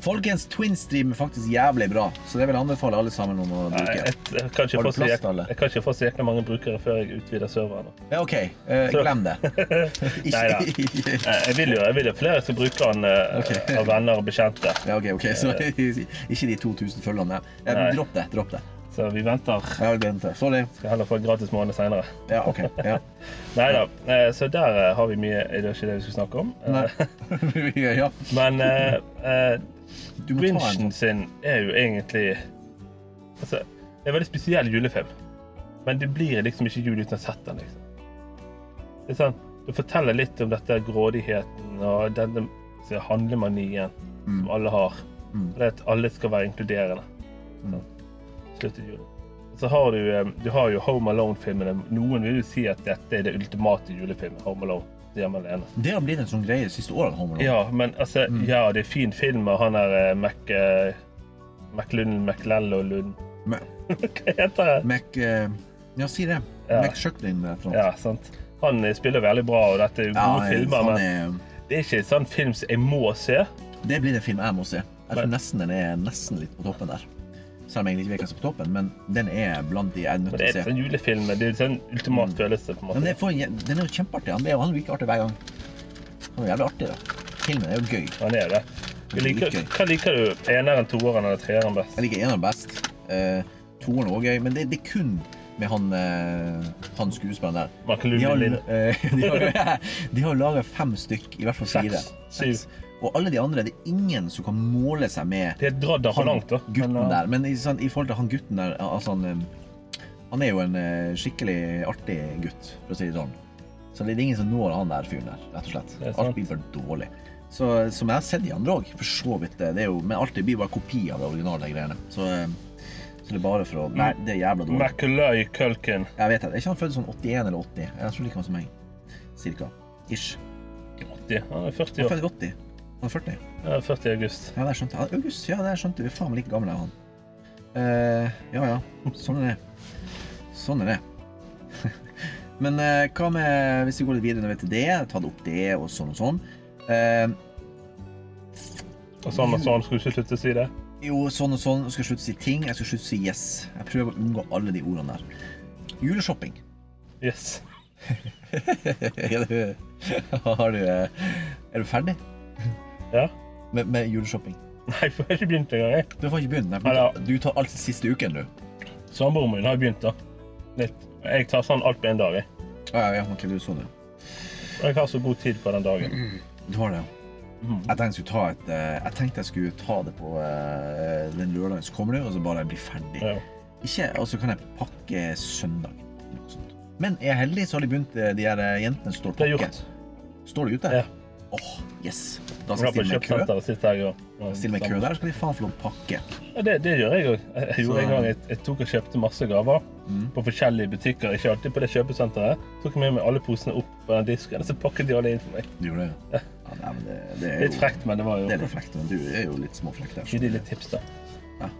Speaker 1: Folkens, Twins driver med faktisk jævlig bra, så det vil jeg anbefale alle sammen om å
Speaker 2: Nei,
Speaker 1: bruke.
Speaker 2: Jeg, jeg, kan ikke
Speaker 1: Har du
Speaker 2: få så
Speaker 1: plass
Speaker 2: jek-
Speaker 1: til alle?
Speaker 2: jeg kan ikke få så jækla mange brukere før jeg utvider serveren.
Speaker 1: Ja, OK, eh,
Speaker 2: Så-
Speaker 1: glem det.
Speaker 2: Neida.
Speaker 1: Ikke
Speaker 2: Eh, Jeg vil jo jeg vil jo flere som bruker den eh,
Speaker 1: Ok.
Speaker 2: av venner og bekjente.
Speaker 1: Ja, OK, ok, så ikke de 2000 følgerne. Eh,
Speaker 2: Nei.
Speaker 1: Dropp det. dropp det.
Speaker 2: Så vi venter.
Speaker 1: Jeg har glemt det. Sorry.
Speaker 2: Skal heller få en gratis måned seinere.
Speaker 1: Ja, OK. Ja.
Speaker 2: Nei da. Så der eh, har vi mye Det er ikke det vi skulle snakke om. Eh,
Speaker 1: Nei. ja.
Speaker 2: Men eh, eh,
Speaker 1: Du må ta en sånn.
Speaker 2: Grinchen sin er jo egentlig Altså, det er en veldig spesiell julefilm. Men det blir liksom ikke jul uten å ha sett den, liksom. Det er sånn, Du forteller litt om dette grådigheten og denne så handlemanien
Speaker 1: Mm.
Speaker 2: som alle har.
Speaker 1: Mm.
Speaker 2: Det er at alle skal være inkluderende.
Speaker 1: Mm.
Speaker 2: Slutt i julen. Og Så har du, eh, du har jo Home Alone-filmene. Noen vil jo si at dette er det ultimate julefilmen. Home Alone. Det gjør man alene.
Speaker 1: Det har blitt en sånn greie de siste årene. Home Alone.
Speaker 2: Ja, men altså,
Speaker 1: Mm.
Speaker 2: ja, det er fin film av han der eh, Mac... eh, McLund, McLell og Lund.
Speaker 1: Ma-
Speaker 2: Hva heter det?
Speaker 1: Mac eh, Ja, si det.
Speaker 2: Ja.
Speaker 1: Mac Shucklin. eller noe.
Speaker 2: Ja, sant. Han eh, spiller veldig bra, og dette er jo gode
Speaker 1: Ja,
Speaker 2: filmer,
Speaker 1: han
Speaker 2: men
Speaker 1: er-
Speaker 2: det er ikke en sånn film som jeg må se.
Speaker 1: Det blir en film jeg må se. Jeg tror
Speaker 2: Men-
Speaker 1: nesten den er nesten litt på toppen der. Selv om jeg egentlig ikke vet hva som er på toppen, men den er blant de jeg er nødt
Speaker 2: Men
Speaker 1: til å
Speaker 2: det
Speaker 1: se.
Speaker 2: er en sånn julefilm. Det er en sånn ultimat følelse, på en
Speaker 1: Men det
Speaker 2: måte.
Speaker 1: er for, en jæ- den er jo kjempeartig. Han er jo han er like artig hver gang. Han er jævlig artig, da. Filmen er jo gøy.
Speaker 2: Han er det. Du liker,
Speaker 1: Liker.
Speaker 2: hva liker du? Eneren, toeren eller treeren best?
Speaker 1: Jeg liker eneren best. Eh, Toeren er også gøy, men det, det er kun med han, eh, han skuespilleren der. De
Speaker 2: McLund
Speaker 1: har,
Speaker 2: og Lund.
Speaker 1: eh, de har, de har laga fem stykk, i hvert fall fire.
Speaker 2: Seks. Syv.
Speaker 1: Og alle de andre, det er ingen som kan måle seg med
Speaker 2: De har dratt den for langt, da.
Speaker 1: gutten
Speaker 2: Men, eh,
Speaker 1: der. Men i, sånn, i forhold til han gutten der altså han, eh, han er jo en eh, skikkelig artig gutt, for å si det sånn. Så det er ingen som når han der fyren der, rett og slett.
Speaker 2: Det er sant.
Speaker 1: Alt blir for dårlig. Så, eh, som jeg har sett de andre òg, for så vidt. Det, det er jo, men alt det blir bare kopi av det originale de greiene. Så, eh, så det er bare for å Nei,
Speaker 2: Mm.
Speaker 1: det er jævla dårlig.
Speaker 2: Macaulay Culkin.
Speaker 1: Jeg vet det. Er ikke han født sånn 81 eller 80? Jeg tror like han som meg. Cirka. Ish.
Speaker 2: 80. Han er 40
Speaker 1: Han er
Speaker 2: år.
Speaker 1: født i 80. Han er 40.
Speaker 2: Ja, 40 august.
Speaker 1: Ja, der skjønte jeg. August, ja, der skjønte jeg. vi. er Faen meg like gammel er han. Eh, ja, ja. Sånn er det. Sånn er det. Men eh, hva med hvis vi går litt videre når vi er til det, ta det opp det og sånn og sånn. Eh,
Speaker 2: Og sånn og sånn, skulle du ikke slutte å si det?
Speaker 1: jo, sånn og sånn. Jeg skal slutte å si ting. Jeg skal slutte å si yes. Jeg prøver å unngå alle de ordene der. Juleshopping.
Speaker 2: Yes.
Speaker 1: er, du, har du, eh, er du ferdig
Speaker 2: Ja?
Speaker 1: med, med juleshopping?
Speaker 2: Nei, for jeg har ikke begynt engang. jeg.
Speaker 1: Du har ikke begynt. Nei,
Speaker 2: Nei,
Speaker 1: for
Speaker 2: da.
Speaker 1: du, du tar alt den siste uken, du.
Speaker 2: Samboeren min har begynt, da. Litt. Jeg tar sånn alt på en dag. Jeg.
Speaker 1: Ja, ja, ja, ok, du er sånn, ja.
Speaker 2: Og jeg har så god tid på den dagen.
Speaker 1: Du har det, ja.
Speaker 2: Mm.
Speaker 1: Jeg tenkte jeg skulle ta, et, eh, jeg tenkte jeg skulle ta det på eh, den lørdagen som kommer, nå, og så bare bli ferdig.
Speaker 2: Ja.
Speaker 1: Ikke, og så kan jeg pakke søndag. eller noe sånt. Men er jeg heldig, så har de begynt, eh, de her eh, jentene som står og
Speaker 2: Det er
Speaker 1: pakker.
Speaker 2: gjort.
Speaker 1: Står de ute?
Speaker 2: Ja.
Speaker 1: Åh, yes! Da
Speaker 2: Jeg
Speaker 1: skal
Speaker 2: var på
Speaker 1: jeg stille meg i kø.
Speaker 2: kjøpesenteret sist helg. og- og-
Speaker 1: Stille meg i kø der, skal de faen få lov å pakke.
Speaker 2: Ja, det, det gjør jeg òg. Jeg, jeg gjorde
Speaker 1: Så-
Speaker 2: en gang jeg, jeg tok og kjøpte masse gaver
Speaker 1: Mm.
Speaker 2: på forskjellige butikker. Ikke alltid på det kjøpesenteret. Tok med meg alle posene opp på den disken, og så pakket de alle inn for meg.
Speaker 1: Du gjorde det, ja? ja nei, men det, det er
Speaker 2: Litt
Speaker 1: jo
Speaker 2: frekt, men det var jo
Speaker 1: det er litt frekt, men du er jo litt småfrekk der.
Speaker 2: Gi de litt tips, da.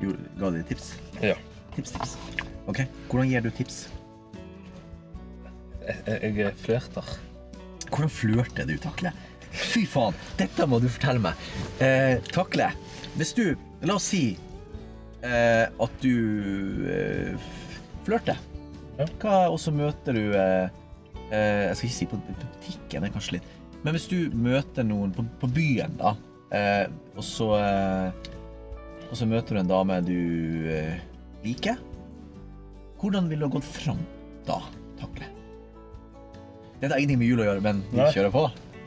Speaker 1: Jo, Ga de tips?
Speaker 2: Ja.
Speaker 1: Tips, tips. Ok, hvordan gir du tips?
Speaker 2: Jeg, jeg flørter.
Speaker 1: Hvordan flørter du, Takle? Fy faen, dette må du fortelle meg. Eh, takle, hvis du La oss si eh, at du eh, f- flørter.
Speaker 2: Ja.
Speaker 1: Hva Og så møter du eh, eh, Jeg skal ikke si på på butikken, det er kanskje litt Men hvis du møter noen på, på byen, da, eh, og så eh, Og så møter du en dame du eh, liker, hvordan ville du ha gått fram da, Takle? Dette har ingenting med jul å gjøre, men vi
Speaker 2: Nei.
Speaker 1: kjører på.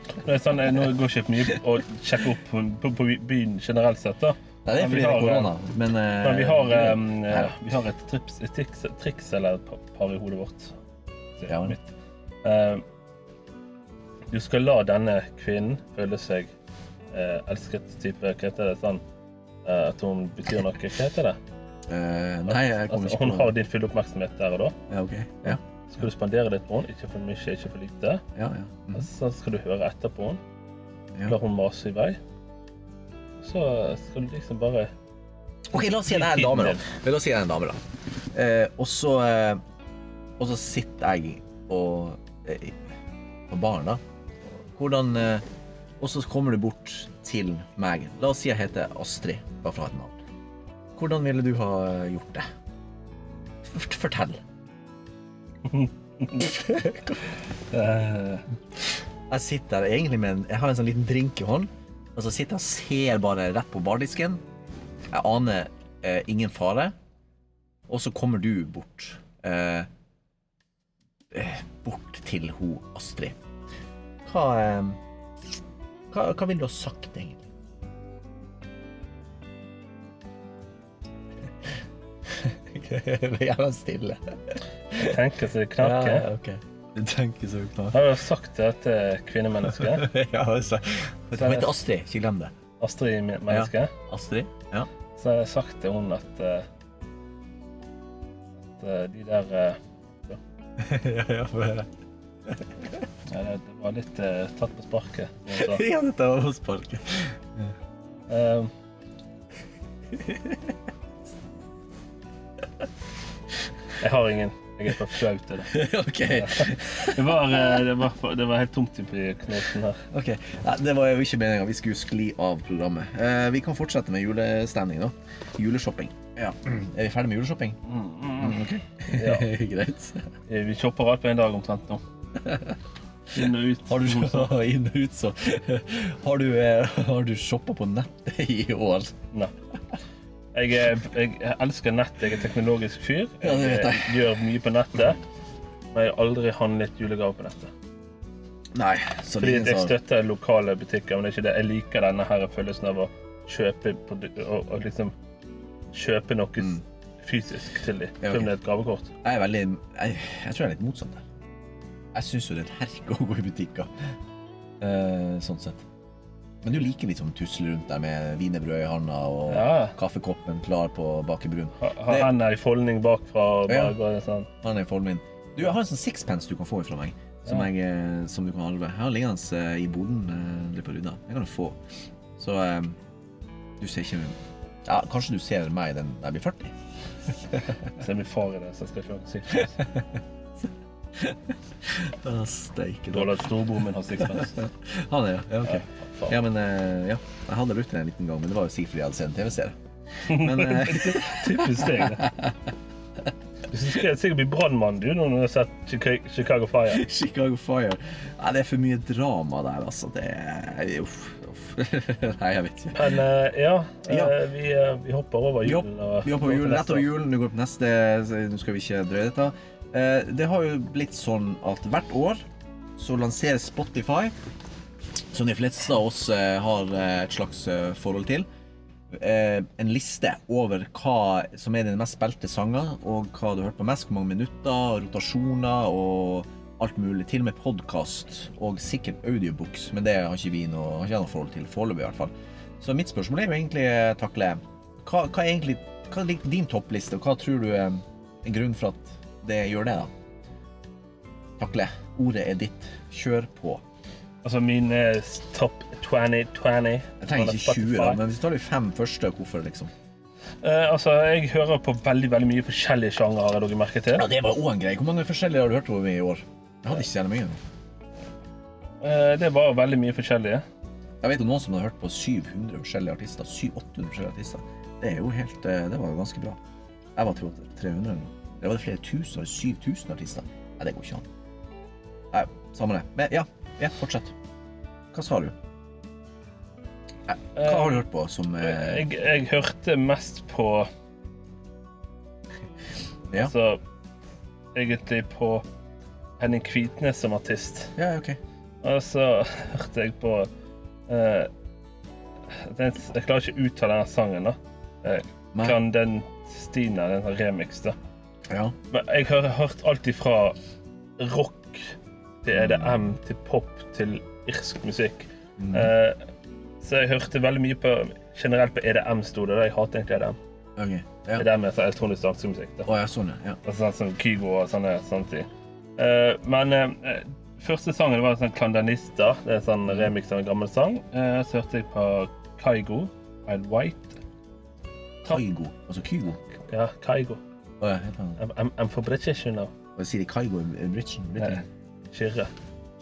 Speaker 2: Det er sånn, jeg, nå går jeg ikke mye å sjekke opp på, på, på byen generelt sett. da.
Speaker 1: Nei, det er
Speaker 2: Men
Speaker 1: fordi
Speaker 2: vi
Speaker 1: det er
Speaker 2: har,
Speaker 1: korona, men eh,
Speaker 2: Men vi har,
Speaker 1: det-
Speaker 2: em, eh,
Speaker 1: Nei da.
Speaker 2: vi har et, trips, et triks, triks eller et par- par i hodet vårt. Det er
Speaker 1: Ja.
Speaker 2: mitt. Em, du skal la denne kvinnen føle seg eh, elsket type Hva heter det? sånn? Eh, at hun betyr noe. Hva heter det?
Speaker 1: Eh, Nei, jeg kommer
Speaker 2: Altså,
Speaker 1: ikke
Speaker 2: hun
Speaker 1: på
Speaker 2: har
Speaker 1: det.
Speaker 2: din fulle oppmerksomhet der og da.
Speaker 1: Ja, ok. Ja,
Speaker 2: Skal du spandere litt på henne, ikke for mye, ikke for lite.
Speaker 1: ja. ja.
Speaker 2: Og
Speaker 1: Mhm.
Speaker 2: Så skal du høre etter på henne.
Speaker 1: Ja.
Speaker 2: La hun mase i vei. Så skal du liksom bare
Speaker 1: Ok, la oss si at jeg er en dame, da. Men La oss si jeg er en dame, da. Eh, og så eh, Og så sitter jeg og eh, på baren, da. Hvordan eh, Og så kommer du bort til meg. La oss si jeg heter Astrid, bare for å ha et navn. Hvordan ville du ha gjort det? Fort- Fortell.
Speaker 2: Eh,
Speaker 1: Jeg sitter der egentlig med en, jeg har en sånn liten drink i hånd, og så sitter jeg og ser bare rett på bardisken. Jeg aner eh, ingen fare, og så kommer du bort. Eh, eh, bort til ho Astrid. Hva, eh, hva, hva vil du ha sagt, egentlig? Det er gjerne stille.
Speaker 2: jeg tenker så det knaker.
Speaker 1: Du tenker så klart.
Speaker 2: Har du sagt det til kvinnemennesket?
Speaker 1: ja, altså. Hun heter Astrid, ikke glem det.
Speaker 2: Astrid mennesket?
Speaker 1: Astrid? Ja.
Speaker 2: Så har jeg sagt til hun at eh, At eh, de der eh,
Speaker 1: ja, ja, får høre.
Speaker 2: ja, det- Det var litt eh, tatt på sparket. som hun sa.
Speaker 1: ja, dette var hos Parken.
Speaker 2: Eh, jeg har ingen. Jeg er for flau til det.
Speaker 1: ok.
Speaker 2: Det var, eh, det var, for- det var helt tomt i knoten her.
Speaker 1: ok. Nei, det var jo ikke meninga. Vi skulle skli av programmet. Eh, vi kan fortsette med julestemning nå. Juleshopping. Ja. Er vi ferdig med juleshopping? Mm, ok.
Speaker 2: Ja.
Speaker 1: Greit.
Speaker 2: Eh, Vi shopper alt på en dag omtrent nå. Inn og ut.
Speaker 1: Har du shoppa inn og ut, så Har du, eh, har du shoppa på nettet i år?
Speaker 2: Nei. Jeg, er- jeg elsker nett. Jeg er teknologisk fyr.
Speaker 1: Ja, det vet jeg.
Speaker 2: eh, gjør mye på nettet. Men jeg har aldri handlet julegaver på nettet.
Speaker 1: Nei. Så det er
Speaker 2: Fordi jeg
Speaker 1: ingen som
Speaker 2: støtter lokale butikker, men det er ikke det. Jeg liker denne her følelsen av å kjøpe produ- og, og liksom kjøpe noe
Speaker 1: Mm.
Speaker 2: fysisk til dem.
Speaker 1: Ja,
Speaker 2: Selv om
Speaker 1: ok.
Speaker 2: det er et gavekort.
Speaker 1: Jeg er veldig Jeg, jeg tror jeg er litt motsatt der. Jeg syns jo det er et herk å gå i butikker. Eh, sånn sett. Men du liker liksom å tusle rundt der med wienerbrød i handa og
Speaker 2: Ja.
Speaker 1: kaffekoppen klar på bakebrun.
Speaker 2: Ha- Ha
Speaker 1: Det-
Speaker 2: hendene i foldning bakfra og
Speaker 1: Ja.
Speaker 2: bare gå sånn.
Speaker 1: Han er i formen min. Du, jeg har en sånn sixpence du kan få ifra meg, som,
Speaker 2: Ja.
Speaker 1: jeg, eh, som du kan arve. Jeg har liggende eh, i boden eh, litt på rydda. Jeg kan jo få. Så eh, du ser ikke Ja, kanskje du ser meg den når jeg blir 40?
Speaker 2: Så jeg blir far i det, så jeg skal ikke ha sixpence.
Speaker 1: Ah, Steike.
Speaker 2: Dårlig at storebroren min har sixpence.
Speaker 1: Han er, ja. ja, ok.
Speaker 2: faen.
Speaker 1: Ja, men eh, ja. Jeg hadde brukt den en liten gang, men det var jo sikkert fordi jeg hadde sett en TV-serie. Men eh,
Speaker 2: Typisk deg, det. Du skal sikkert bli brannmann, du, når du har sett Chica- Chicago Fire.
Speaker 1: Chicago Fire Nei, det er for mye drama der, altså. Det er Uff. uff. Nei, jeg vet ikke.
Speaker 2: Men eh, ja, eh,
Speaker 1: Ja.
Speaker 2: Vi, eh, vi hopper over
Speaker 1: Vi
Speaker 2: julen. og-
Speaker 1: Vi hopper på
Speaker 2: og
Speaker 1: julen,
Speaker 2: neste
Speaker 1: rett over julen, nå går vi på neste, så nå skal vi ikke drøye dette. Eh, Det har jo blitt sånn at hvert år så lanserer Spotify, som de fleste av oss eh, har eh, et slags eh, forhold til, eh, en liste over hva som er dine mest spilte sanger, og hva du har hørt på mest, hvor mange minutter, rotasjoner og alt mulig. Til og med podkast, og sikkert audiobooks, men det har ikke vi noe, har ikke jeg noe forhold til foreløpig, i hvert fall. Så mitt spørsmål er jo egentlig, eh, Takle, hva, hva er egentlig hva er din toppliste, og hva tror du eh, er en grunn for at det gjør det, da? Takle, ordet er ditt. Kjør på.
Speaker 2: Altså min eh, top 20, 20
Speaker 1: Jeg trenger ikke 20, da, men hvis du tar de fem første, hvorfor, liksom?
Speaker 2: Eh, altså, jeg hører på veldig veldig mye forskjellige sjangere, har dere merket til.
Speaker 1: Ja, det var òg en greie. Hvor mange forskjellige har du hørt over i år? Jeg hadde ikke så jævlig mye.
Speaker 2: Eh, det var veldig mye forskjellige.
Speaker 1: Jeg vet om noen som hadde hørt på 700 forskjellige artister. 700-800 forskjellige artister. Det er jo helt eh, Det var jo ganske bra. Jeg var trodde 300 eller noe. Det var det flere tusen. var det 7000 artister. Nei, det går ikke an. Nei, samme det. Men ja, ja fortsett. Hva sa du? Nei, Hva har du hørt på som
Speaker 2: Eh,
Speaker 1: eh,
Speaker 2: Jeg, jeg hørte mest på
Speaker 1: Ja.
Speaker 2: Altså egentlig på Henning Kvitnes som artist.
Speaker 1: Ja, OK.
Speaker 2: Og så hørte jeg på eh, den, Jeg klarer ikke å uttale denne sangen, da. Eh,
Speaker 1: Nei.
Speaker 2: Clandestina, den her remix, da.
Speaker 1: Ja.
Speaker 2: Men jeg har hørt alt ifra rock til EDM til pop til irsk musikk.
Speaker 1: Mm.
Speaker 2: Eh, så jeg hørte veldig mye på generelt på EDM, sto det. da. Jeg hater egentlig E EDM.
Speaker 1: ok. Ja.
Speaker 2: EDM er sånn elektronisk dansemusikk. da.
Speaker 1: Å ja, sånn, ja.
Speaker 2: Altså, sånn som Kygo og sånne sånne ting. Eh, men eh, første sangen var en sånn Clandanista. Det er en sånn remix av en gammel sang. Eh, så hørte jeg på Kygo, Wild White.
Speaker 1: Kaigo. Altså Kygo.
Speaker 2: Ja, Kygo.
Speaker 1: Å ja, helt annet.
Speaker 2: I'm, I'm, I'm for British, you know.
Speaker 1: Hva sier de? eh, Kaigo? Britchen?
Speaker 2: Eh, Kyrre.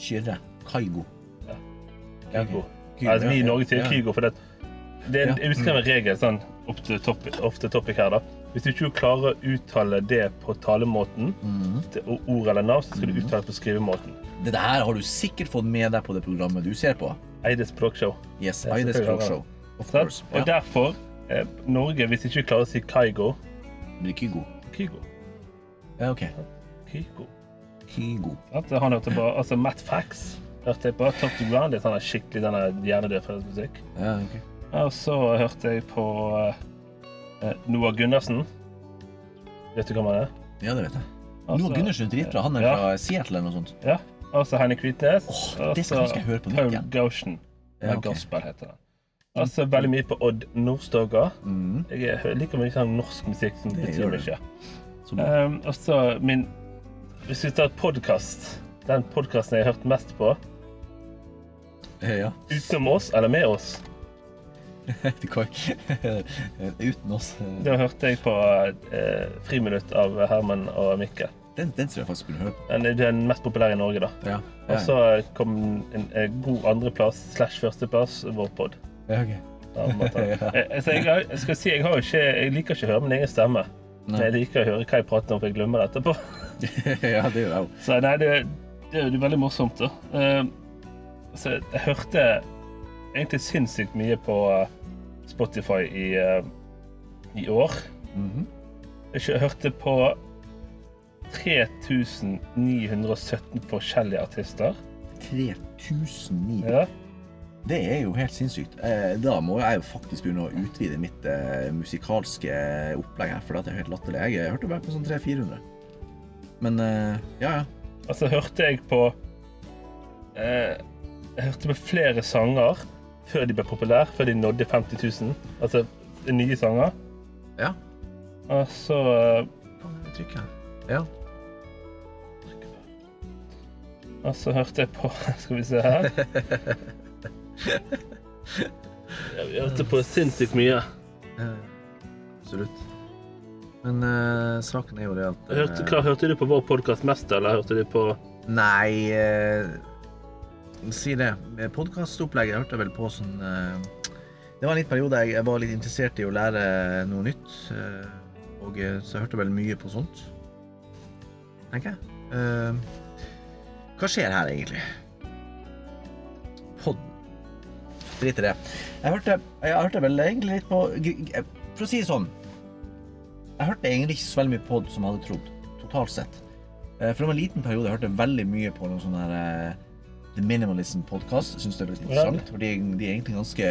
Speaker 1: Kyrre. Kaigo.
Speaker 2: Kygo.
Speaker 1: Ok. Kygo,
Speaker 2: Altså, vi i
Speaker 1: ja,
Speaker 2: Norge sier
Speaker 1: ja.
Speaker 2: Kygo, for det, det er en
Speaker 1: Ja.
Speaker 2: utskrevet regel sånn, off the topic, off the topic her, da. Hvis du ikke klarer å uttale det på talemåten,
Speaker 1: Mhm.
Speaker 2: til o- ord eller navn, så skal du uttale det på skrivemåten.
Speaker 1: Dette her har du sikkert fått med deg på det programmet du ser på.
Speaker 2: Eides Plogshow.
Speaker 1: Yes,
Speaker 2: Ja,
Speaker 1: Aides
Speaker 2: selvfølgelig.
Speaker 1: Pro Show. Of
Speaker 2: Sant?
Speaker 1: course.
Speaker 2: Og
Speaker 1: Ja,
Speaker 2: derfor eh, Norge, hvis ikke vi klarer å si Kygo
Speaker 1: blir Kygo.
Speaker 2: Kygo.
Speaker 1: Ja, ok.
Speaker 2: Kygo.
Speaker 1: Kygo.
Speaker 2: At han hørte på altså Matt Fax. Hørte jeg på Top to Ground, litt sånn skikkelig denne hjernedød fredagsmusikk.
Speaker 1: Ja, ok.
Speaker 2: Og så hørte jeg på eh, Noah Gundersen. Vet du hvem han er?
Speaker 1: Ja, det vet jeg.
Speaker 2: Altså-
Speaker 1: Noah Gundersen er dritbra. Han er
Speaker 2: Ja.
Speaker 1: fra Seattle eller noe sånt.
Speaker 2: Ja. Altså, Og så Henrik Hvitnes.
Speaker 1: Åh,
Speaker 2: og
Speaker 1: det skal
Speaker 2: så
Speaker 1: jeg huske jeg høre på nytt
Speaker 2: Altså, Paul
Speaker 1: igjen.
Speaker 2: Gaussian.
Speaker 1: Ja,
Speaker 2: Eller
Speaker 1: ok.
Speaker 2: Gospel heter den. Og så veldig mye på Odd Nordstoga.
Speaker 1: Mhm.
Speaker 2: Jeg er- liker mye sånn norsk musikk som
Speaker 1: Det
Speaker 2: betyr
Speaker 1: gjør du.
Speaker 2: mye.
Speaker 1: Som-
Speaker 2: Um, og så min Hvis vi tar podkast Den podkasten jeg har hørt mest på,
Speaker 1: Eh, ja.
Speaker 2: utenom oss eller med oss,
Speaker 1: Det kan Uten oss. eh,
Speaker 2: da hørte jeg på eh, Friminutt av Herman og Mikkel.
Speaker 1: Den, den tror jeg faktisk skulle høre på.
Speaker 2: Den er den mest populære i Norge, da.
Speaker 1: Ja.
Speaker 2: Og så kom en, en god andreplass slash førsteplass, vår pod.
Speaker 1: ja, ok.
Speaker 2: Ja, på en måte.
Speaker 1: Ja.
Speaker 2: Eh, altså, jeg, har- jeg skal si, jeg, har jo ikke, jeg liker ikke å høre min egen stemme.
Speaker 1: Nei.
Speaker 2: Men jeg liker å høre hva jeg prater om, for jeg glemmer det etterpå.
Speaker 1: ja, det gjør jeg òg.
Speaker 2: Så nei, det, det er jo veldig morsomt, da. Eh, så jeg hørte egentlig sinnssykt mye på eh, Spotify i, eh, i år.
Speaker 1: Mhm.
Speaker 2: Jeg kjø- hørte på 3917 forskjellige artister.
Speaker 1: 3900.
Speaker 2: Ja.
Speaker 1: Det er jo helt sinnssykt. Eh, Da må jeg jo faktisk begynne å utvide mitt eh, musikalske eh, opplegg her, for det er jo helt latterlig. Jeg hørte bare på sånn 300-400. Men eh, ja, ja.
Speaker 2: Og så hørte jeg på eh, Jeg hørte på flere sanger før de ble populære, før de nådde 50 000. Altså nye sanger.
Speaker 1: Ja.
Speaker 2: Og så eh,
Speaker 1: Faen, jeg trykker her. Ja.
Speaker 2: Og så hørte jeg på Skal vi se her. Jeg hørte på sinnssykt mye.
Speaker 1: Eh, Absolutt. Men eh, saken er jo det at eh,
Speaker 2: Hørte, hva, hørte du på vår podkast mest, eller hørte du på
Speaker 1: Nei eh, Si det. Podkastopplegget hørte jeg vel på sånn eh, Det var en litt periode jeg var litt interessert i å lære noe nytt. Eh, og eh, så hørte jeg vel mye på sånt. Tenker jeg. Eh, hva skjer her, egentlig? Pod... Drit i det. Jeg hørte, jeg hørte vel egentlig litt på gr- gr- For å si det sånn Jeg hørte egentlig ikke så veldig mye pod som jeg hadde trodd. Totalt sett. Eh, For det var en liten periode jeg hørte veldig mye på noen sånne her eh, The Minimalism podcast. Synes det er litt interessant, for de, de er egentlig ganske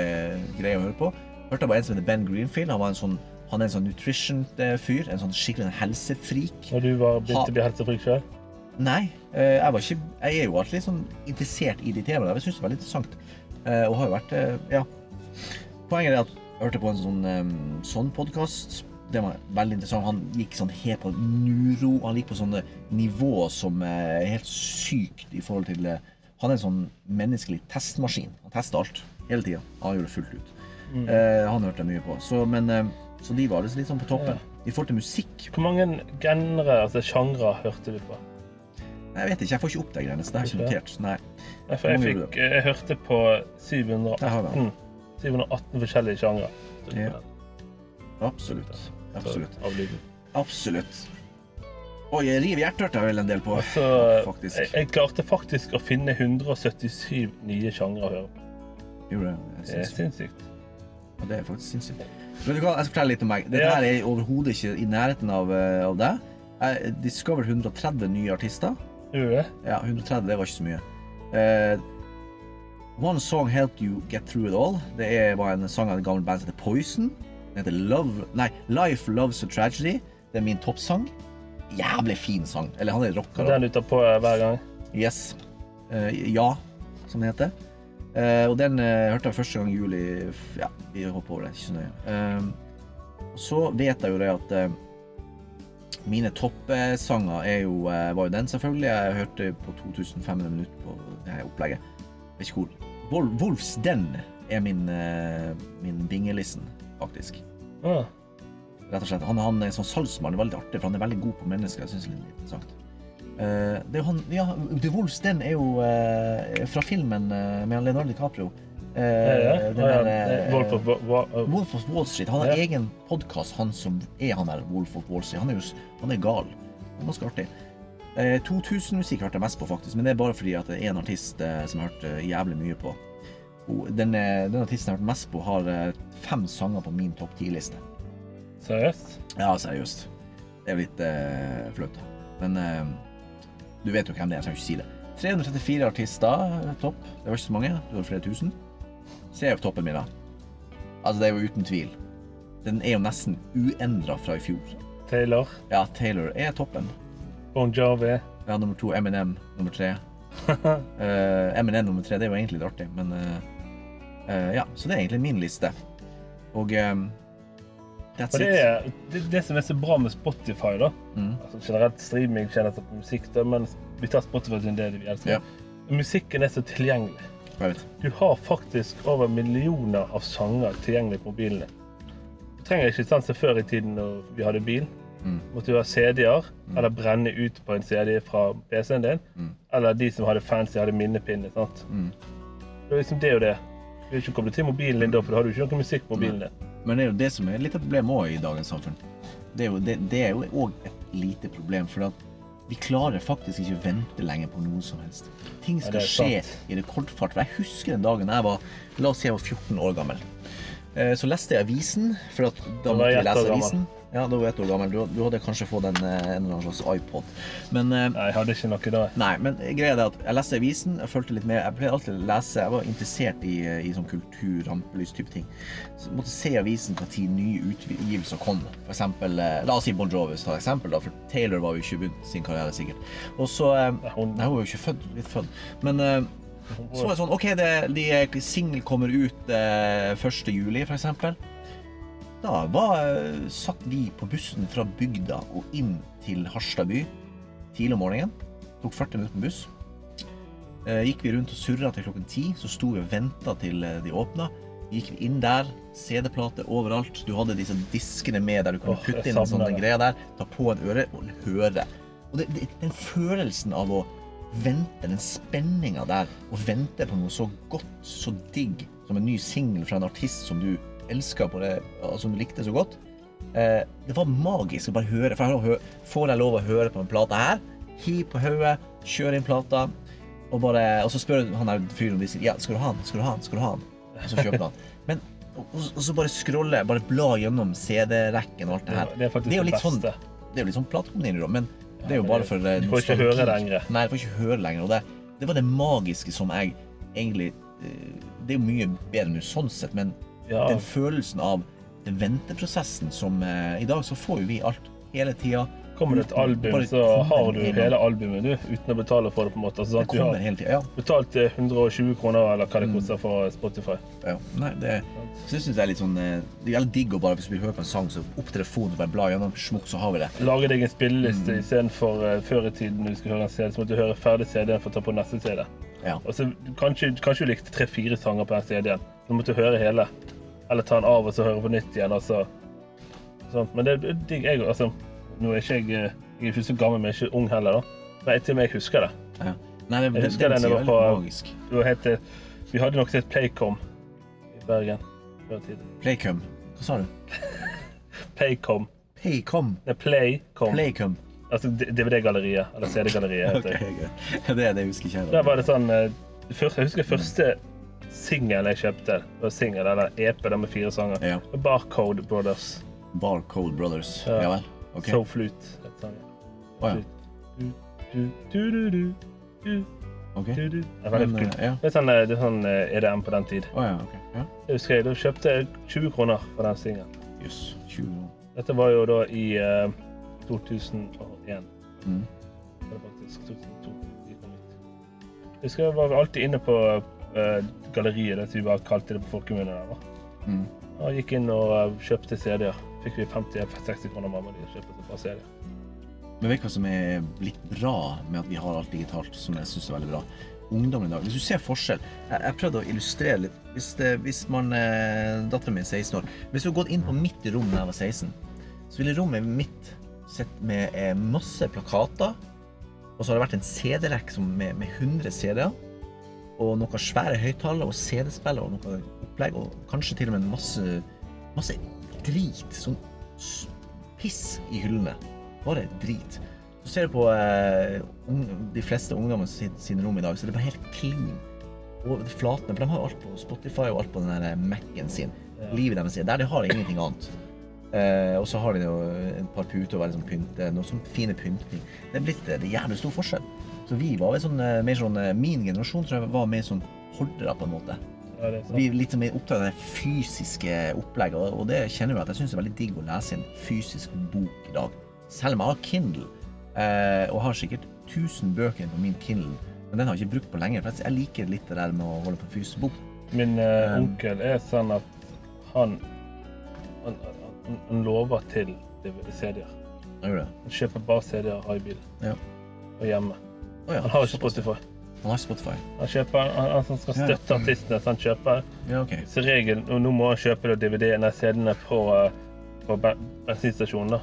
Speaker 1: greie å høre på. Hørte på en som heter Ben Greenfield. Han, var en sånn, han er en sånn nutrition-fyr. En sånn skikkelig helsefrik.
Speaker 2: Når du var begynte å bli helsefrik sjøl?
Speaker 1: Nei, eh, jeg, var ikke, jeg er jo alltid litt sånn interessert i de temaene. Jeg syns det var litt interessant. eh, Og har jo vært eh, Ja. Poenget er at jeg hørte på en sånn, eh, sånn podkast. Det var veldig interessant. Han gikk sånn helt på neuro. Han gikk på sånne nivå som eh, er helt sykt i forhold til eh, Han er en sånn menneskelig testmaskin. Han tester alt hele tida. Han gjør det fullt ut. Eh, han hørte jeg mye på. Så, men, eh, så de var liksom litt sånn på toppen. I forhold til musikk
Speaker 2: Hvor mange genre, altså sjangre, hørte du på?
Speaker 1: Jeg vet ikke, jeg får ikke opp de greiene, så det har jeg ikke notert. Nei,
Speaker 2: Jeg, jeg, fikk, jeg hørte på
Speaker 1: der har vi den.
Speaker 2: 718, 718 forskjellige sjangre.
Speaker 1: Ja. Absolutt. Absolutt.
Speaker 2: Av lyden.
Speaker 1: Absolutt. Oi, jeg river hjertet vel en del på.
Speaker 2: Og så
Speaker 1: Faktisk.
Speaker 2: jeg, jeg klarte faktisk å finne 177 nye sjangre å høre på.
Speaker 1: Gjorde det. Jeg
Speaker 2: Det er
Speaker 1: syns-
Speaker 2: sinnssykt.
Speaker 1: Ja, det er faktisk sinnssykt. Vet du hva, jeg skal fortelle litt om meg. Dette
Speaker 2: Ja.
Speaker 1: her er overhodet ikke i nærheten av, eh, av deg. Jeg discovered 130 nye artister.
Speaker 2: Gjorde du det?
Speaker 1: Ja, 130, det var ikke så mye. Eh, One Song Helped You Get Through It All. Det er, var en sang av et gammelt band som heter Poison. Den heter Love, nei, Life Loves a Tragedy. Det er min toppsang. Jævlig fin sang. Eller han er rocker.
Speaker 2: Og
Speaker 1: da.
Speaker 2: Den du tar på eh, hver gang?
Speaker 1: Yes. Eh, ja, som det heter. Eh, og den eh, hørte jeg første gang i juli f- Ja, vi hopper over det, ikke så nøye. Eh, og så vet jeg jo det at eh, mine toppsanger er jo, eh, var jo den, selvfølgelig. Jeg hørte på 2500 minutter på det her opplegget. Vet ikke hvor. Vol Wolfs Den er min, eh, min bingelisten, faktisk.
Speaker 2: Ah.
Speaker 1: Rett og slett. Han, han er en sånn salgsmann. Det er veldig artig, for han er veldig god på mennesker. Jeg synes det er litt interessant. Eh, det er jo han, ja, The Wolfs Den er jo eh, fra filmen eh, med Leonardo DiCaprio.
Speaker 2: Ja,
Speaker 1: Eh,
Speaker 2: ja.
Speaker 1: den
Speaker 2: Ja,
Speaker 1: der,
Speaker 2: ja.
Speaker 1: eh,
Speaker 2: Wolf of Wa- Wa- uh,
Speaker 1: Wolf of Wall Street. Han har
Speaker 2: Ja.
Speaker 1: egen podkast, han som er han der Wolf of Wall Street. Han er jo s- han er gal. Han er ganske artig. Eh, 2000-musikk hørte jeg mest på, faktisk, men det er bare fordi at det er en artist eh, som jeg hørte jævlig mye på. Hun- Den, eh, den artisten jeg hørte mest på, har eh, fem sanger på min topp ti-liste.
Speaker 2: Seriøst?
Speaker 1: Ja, seriøst. Det er jo litt eh, flaut, da. Men eh, du vet jo hvem det er, så jeg trenger ikke si det. 334 artister, eh, topp. Det var ikke så mange. Du har flere tusen. Se på toppen min, da. Altså, det er jo uten tvil. Den er jo nesten uendra fra i fjor.
Speaker 2: Taylor?
Speaker 1: Ja, Taylor er toppen.
Speaker 2: Bon Jovi?
Speaker 1: Ja, nummer to, Eminem, nummer tre. Eh, Eminem nummer tre, det er jo egentlig litt artig, men eh, eh, Ja, så det er egentlig min liste. Og eh, that's
Speaker 2: Og det,
Speaker 1: it.
Speaker 2: er, det, det som er så bra med Spotify, da
Speaker 1: Mm.
Speaker 2: altså Generelt streaming tjener seg på musikk, da, men vi tar Spotify som det vi elsker.
Speaker 1: Ja.
Speaker 2: Musikken er så tilgjengelig.
Speaker 1: Jeg vet.
Speaker 2: Du har faktisk over millioner av sanger tilgjengelig på mobilen din. Du trenger ikke sanse før i tiden når vi hadde bil.
Speaker 1: Mm.
Speaker 2: Måtte du ha CD-er, eller brenne ut på en CD fra PC-en din.
Speaker 1: Mm.
Speaker 2: Eller de som hadde fancy, hadde minnepinne. sant?
Speaker 1: Mm.
Speaker 2: Det er liksom det og det. Du er ikke koblet til mobilen din da, for da har du ikke noe musikk på mobilen din.
Speaker 1: Men det er jo det som er litt et problem òg i dagens samfunn. Det er jo, det, det er jo også et lite problem, for at vi klarer faktisk ikke å vente lenger på noe som helst. Ting
Speaker 2: det
Speaker 1: skal
Speaker 2: er
Speaker 1: skje
Speaker 2: sant.
Speaker 1: i rekordfart. For jeg husker den dagen jeg var La oss si jeg var 14 år gammel. Eh, Så leste jeg avisen, for at da
Speaker 2: var
Speaker 1: måtte
Speaker 2: jeg
Speaker 1: vi
Speaker 2: ett år
Speaker 1: lese
Speaker 2: gammel.
Speaker 1: avisen. Ja, da var jeg ett år gammel. Du, du hadde kanskje fått en, eh, en eller annen slags iPod. Men eh,
Speaker 2: Nei, jeg hadde ikke noe da.
Speaker 1: Nei, men greia er det at jeg leste avisen, jeg følte litt med, jeg pleide alltid å lese, jeg var interessert i, i sånn kultur, rampelys type ting. Så jeg måtte se avisen hva tid nye utgivelser kom. For eksempel, eh, la oss si Bon Jovi, ta eksempel da, for Taylor var jo ikke begynt sin karriere sikkert. Og så, eh,
Speaker 2: Nei, Hun,
Speaker 1: nei, hun var jo ikke født, litt født, men eh,
Speaker 2: hun,
Speaker 1: så er det sånn, ok, det, de eh, single kommer ut eh, 1. juli for eksempel. Da var, eh, satt vi på bussen fra bygda og inn til Harstad by tidlig om morgenen. Tok 40 minutter med buss. Eh, gikk vi rundt og surra til klokken 10, så sto vi og venta til eh, de åpna. Gikk vi inn der, CD-plate overalt. Du hadde disse diskene med der du kunne
Speaker 2: Åh, jeg
Speaker 1: putte inn en sånn
Speaker 2: savner det.
Speaker 1: greie der, ta på en øre og høre. Og det, det, den følelsen av å vente, den spenninga der, å vente på noe så godt, så digg, som en ny singel fra en artist som du elska på det, og som du likte så godt eh, Det var magisk å bare høre. For jeg har hø- får jeg lov å høre på en plate her? Hi på hodet, kjør inn plata, og, bare, og så spør han der fyren om de sier Ja, skal du ha den? Skal du ha den? Skal du ha den? Og så kjøper han. Men, og, og så bare scrolle, bare bla gjennom CD-rekken og alt det her.
Speaker 2: det er faktisk
Speaker 1: Det
Speaker 2: det,
Speaker 1: er jo litt sånn-
Speaker 2: beste.
Speaker 1: Det er jo litt sånn platekompanier, da, men det er jo
Speaker 2: men
Speaker 1: bare
Speaker 2: det-
Speaker 1: for eh,
Speaker 2: du får ikke
Speaker 1: nostalgi.
Speaker 2: høre det lenger.
Speaker 1: Nei, du får ikke høre det lenger. Og det, det var det magiske som jeg egentlig eh, Det er jo mye bedre nå sånn sett, men
Speaker 2: Ja,
Speaker 1: den følelsen av den venteprosessen som eh, I dag så får jo vi alt hele tida.
Speaker 2: kommer det et album,
Speaker 1: Bare
Speaker 2: så har
Speaker 1: kommer
Speaker 2: du
Speaker 1: den inn.
Speaker 2: hele albumet du, uten å betale for det på en måte.
Speaker 1: Det
Speaker 2: Altså, sånn at du
Speaker 1: kommer Mm.
Speaker 2: har
Speaker 1: hele tida. Ja.
Speaker 2: betalt eh, 120 kroner, eller hva det koster for Spotify.
Speaker 1: ja. Nei, det så jeg synes det er litt sånn eh, Det er jævlig digg å bare hvis du vil høre på en sang, så opp telefonen og bare bla gjennom, smukk, så har vi det.
Speaker 2: Lage deg en spilleliste
Speaker 1: Mm.
Speaker 2: istedenfor uh, før i tiden når du skulle høre en CD, så måtte du høre ferdig CD-en for å ta på neste CD.
Speaker 1: Ja.
Speaker 2: Og så kanskje, kanskje du likte tre-fire sanger på den CD-en. Så måtte du høre hele. Eller ta den av og så høre på nytt igjen. Altså. Sånt. Men det er digg. Jeg, altså, nå er ikke jeg, eh, jeg er ikke så gammel, men jeg er ikke ung heller. da. Men jeg til og med jeg husker det.
Speaker 1: Ja. Nei, det,
Speaker 2: Jeg
Speaker 1: det,
Speaker 2: husker
Speaker 1: den
Speaker 2: den jeg
Speaker 1: tida
Speaker 2: var
Speaker 1: er litt
Speaker 2: på-
Speaker 1: magisk.
Speaker 2: Det var helt, eh, vi hadde noe som het Paycom i Bergen. før i tiden.
Speaker 1: Playcom. Hva sa du?
Speaker 2: Paycom.
Speaker 1: Paycom.
Speaker 2: Nei, Playcom.
Speaker 1: Playcom.
Speaker 2: Altså DVD-galleriet. Eller CD-galleriet. heter
Speaker 1: Ok,
Speaker 2: det.
Speaker 1: greit. Det, det husker ikke jeg.
Speaker 2: Der var det sånn eh, det første, Jeg husker første singelen jeg kjøpte. Det var singel, eller EP, den med fire sanger.
Speaker 1: Ja.
Speaker 2: Barcode Brothers.
Speaker 1: Barcode Brothers.
Speaker 2: Ja.
Speaker 1: Ja, vel. Ok.
Speaker 2: So Flute. het sangen.
Speaker 1: Å, ja.
Speaker 2: Du, du, du, du, du, du,
Speaker 1: Ok.
Speaker 2: du, du. Det er veldig
Speaker 1: Men,
Speaker 2: kult.
Speaker 1: eh, ja.
Speaker 2: Det er sånn, eh, det er sånn eh, EDM på den tid.
Speaker 1: Å, ja, ok. Ja.
Speaker 2: Jeg husker jeg da kjøpte jeg 20 kroner for den singelen.
Speaker 1: Jøss. 20 år.
Speaker 2: Dette var jo da i eh, 2001.
Speaker 1: Mm.
Speaker 2: Eller faktisk 2002. de kom ut. Jeg husker jeg var alltid inne på eh, galleriet, det som vi bare kalte det på folkemunne der. da.
Speaker 1: Mm.
Speaker 2: Ja, gikk inn og eh, kjøpte CD-er. Fikk vi 50-60 kroner mamma di kjøpte et par CD-er.
Speaker 1: Men vet du hva som er blitt bra med at vi har alt digitalt, som jeg syns er veldig bra? Ungdom i dag. Hvis du ser forskjell Jeg, jeg prøvde å illustrere litt. Hvis, det, hvis man eh, Datteren min er 16 år. Hvis du hadde gått inn på mitt rom da jeg var 16, så ville rommet mitt sett med eh, masse plakater, og så har det vært en CD-rekk som- med, med 100 CD-er. og noen svære høyttalere og CD-spiller og noe opplegg, og kanskje til og med masse, masse drit, sånn s- piss i hyllene. Bare drit. Så ser du på eh, ung- de fleste ungdommene sin, sin rom i dag, så det er bare helt clean. Og det flatner, for de har alt på Spotify og alt på den der Mac-en sin. Livet deres er der, de har ingenting annet. Eh, og så har de jo et par puter og veldig sånn pynte, noen sånne fine pyntting. Det er blitt eh, det er jævlig stor forskjell. Så vi var vel sånn, eh, mer sånn, eh, min generasjon tror jeg var mer sånn hordere på en måte.
Speaker 2: Ja, det er sant.
Speaker 1: Vi er litt mer opptatt av det fysiske opplegget, og- og det kjenner vi at jeg synes er veldig digg å lese en fysisk bok i dag. Selv om jeg har Kindle, eh, og har sikkert 1000 bøker på min Kindle, men den har jeg ikke brukt på lenge, for jeg liker litt det der med å holde på en fysisk bok.
Speaker 2: Min eh,
Speaker 1: Um.
Speaker 2: onkel er sånn at han Han, han, han lover til DV- CD-er.
Speaker 1: Jeg gjør det.
Speaker 2: Han kjøper bare CD-er og har i bilen
Speaker 1: Ja.
Speaker 2: og hjemme.
Speaker 1: Å ja,
Speaker 2: Han har ikke Spotify.
Speaker 1: han har Spotify.
Speaker 2: Han, kjøper, han, han skal
Speaker 1: Ja.
Speaker 2: støtte artistene, så han kjøper
Speaker 1: Ja, ok.
Speaker 2: som regel Og nå må han kjøpe da DVD-ene, nei, CD-ene på, eh, på ben- bensinstasjonen, da.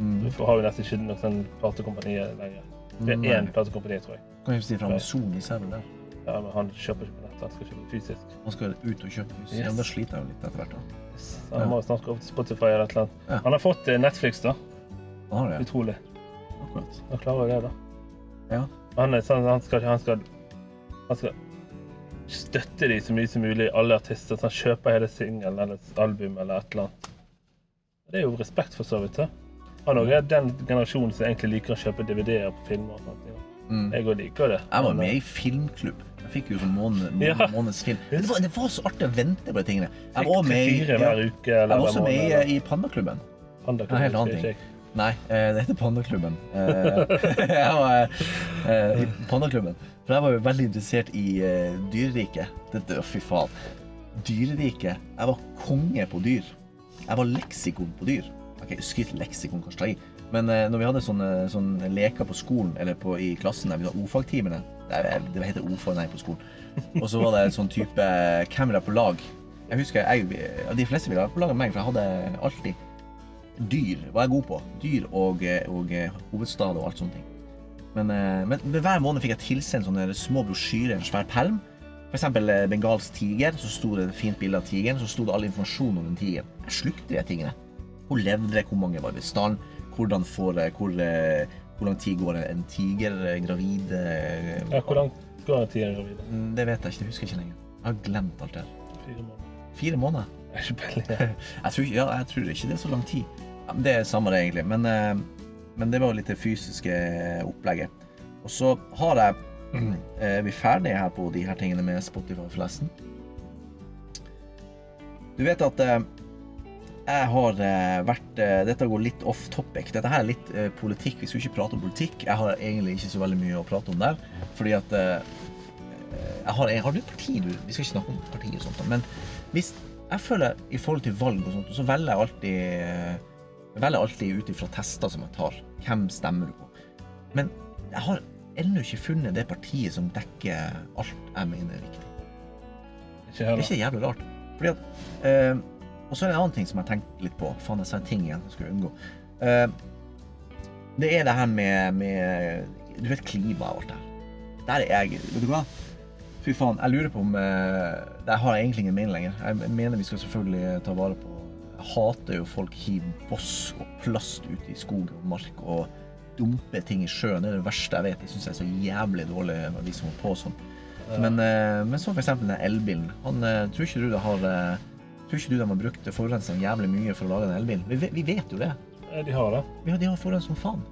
Speaker 1: Mm.
Speaker 2: For har vi nesten ikke noe sånn platekompani lenger. Det er
Speaker 1: Nei.
Speaker 2: én platekompani, tror jeg.
Speaker 1: Kan jeg si fra med Sony selv der?
Speaker 2: Ja, men han kjøper ikke på nett, han skal kjøpe fysisk.
Speaker 1: Man skal ut og kjøpe hus. Ja,
Speaker 2: Yes.
Speaker 1: men da sliter jeg jo litt etter hvert da.
Speaker 2: Så han må jo snart gå over til Spotify eller et eller annet.
Speaker 1: Ja.
Speaker 2: Han har fått eh, Netflix, da.
Speaker 1: Man har det,
Speaker 2: Utrolig.
Speaker 1: ja. akkurat.
Speaker 2: Han klarer jo det, da.
Speaker 1: Ja.
Speaker 2: Han, er sånn, han, skal, han, skal, han skal støtte de så mye som mulig, alle artister. Så han kjøper hele singelen eller et album eller et eller annet. Det er jo respekt for så vidt. da. Han også er den generasjonen som egentlig liker å kjøpe DVD-er på filmer. og sånt.
Speaker 1: Mm.
Speaker 2: Jeg òg liker det.
Speaker 1: Jeg var
Speaker 2: Men,
Speaker 1: med i filmklubb. Jeg fikk jo sånn måned, må,
Speaker 2: Ja.
Speaker 1: måneds film. Men Det var, det var så artig å vente på de tingene. Jeg var også med i,
Speaker 2: Tre-fire
Speaker 1: ja,
Speaker 2: hver
Speaker 1: jeg
Speaker 2: uke eller
Speaker 1: var
Speaker 2: hver
Speaker 1: også med i,
Speaker 2: måned.
Speaker 1: i Pandaklubben.
Speaker 2: Panda
Speaker 1: en helt annen ting. Nei, eh, det heter Pandaklubben. Eh, Jeg var eh, i Pandaklubben. For jeg var jo veldig interessert i eh, dyreriket. Dette, å, fy faen. Dyreriket. Jeg var konge på dyr. Jeg var leksikon på dyr. Ok, Skryt leksikon, kanskje ta i. Men eh, når vi hadde sånne, sånne leker på skolen, eller på, i klassen, der vi hadde ordfagtimene Det er- eh, det heter ordfag, nei, på skolen. Og så var det en sånn type Hvem vil være på lag? Jeg husker jeg, ja, De fleste ville være på lag med meg, for jeg hadde alltid dyr var jeg god på. Dyr og, og eh, hovedstad og alt sånne ting. Men, eh, men men hver måned fikk jeg tilsendt sånne små brosjyrer, en svær perm. For eksempel eh, bengalsk tiger, så sto det et fint bilde av tigeren, så sto det all informasjon om den tigeren. Jeg slukte de tingene. Hvor levde det, hvor mange var i bestand, hvordan får eh, hvor, eh, hvor lang tid går en tiger eh, gravid eh,
Speaker 2: Ja, hvor langt går en tier gravid?
Speaker 1: Mm, Det vet jeg ikke, det husker jeg ikke lenger. Jeg har glemt alt det her.
Speaker 2: Fire måneder?
Speaker 1: Fire måneder?
Speaker 2: Jeg har ikke peiling.
Speaker 1: Jeg tror, ja, jeg tror ikke det er så lang tid. Ja, men Det er samme det, egentlig. Men, eh, men det var jo litt det fysiske eh, opplegget. Og så har jeg Er vi ferdige her på de her tingene med Spotify, forresten? Du vet at eh, jeg har eh, vært eh, Dette går litt off topic. Dette her er litt eh, politikk. Vi skulle ikke prate om politikk. Jeg har egentlig ikke så veldig mye å prate om der. Fordi at eh, jeg har, jeg har du et parti, du? Vi skal ikke snakke om partier og sånt, da, men hvis jeg føler i forhold til valg og sånt, så velger jeg alltid, jeg velger alltid ut ifra tester som jeg tar. Hvem stemmer du på? Men jeg har ennå ikke funnet det partiet som dekker alt jeg mener er viktig.
Speaker 2: Ikke
Speaker 1: Det er
Speaker 2: heller.
Speaker 1: ikke jævlig rart. Fordi at, eh, og så er det en annen ting som jeg tenkte litt på. Faen, jeg sa en ting igjen som jeg skulle unngå. Eh, det er det her med, med Du vet klima og alt det her. Der er jeg Vet du hva? Fy faen, jeg lurer på om eh, Der har jeg egentlig ingen mening lenger. Jeg mener vi skal selvfølgelig eh, ta vare på Jeg hater jo folk hiver boss og plast ut i skog og mark og dumper ting i sjøen. Det er det verste jeg vet. Det syns jeg er så jævlig dårlig, de som holder på sånn. Men, eh, men så for eksempel den elbilen. Han, eh, tror ikke du det har eh, Tror ikke du de har brukt forurensning jævlig mye for å lage en elbil? Vi, ve- vi vet jo det.
Speaker 2: Ja, De har det.
Speaker 1: Vi har, de har forurensning som faen.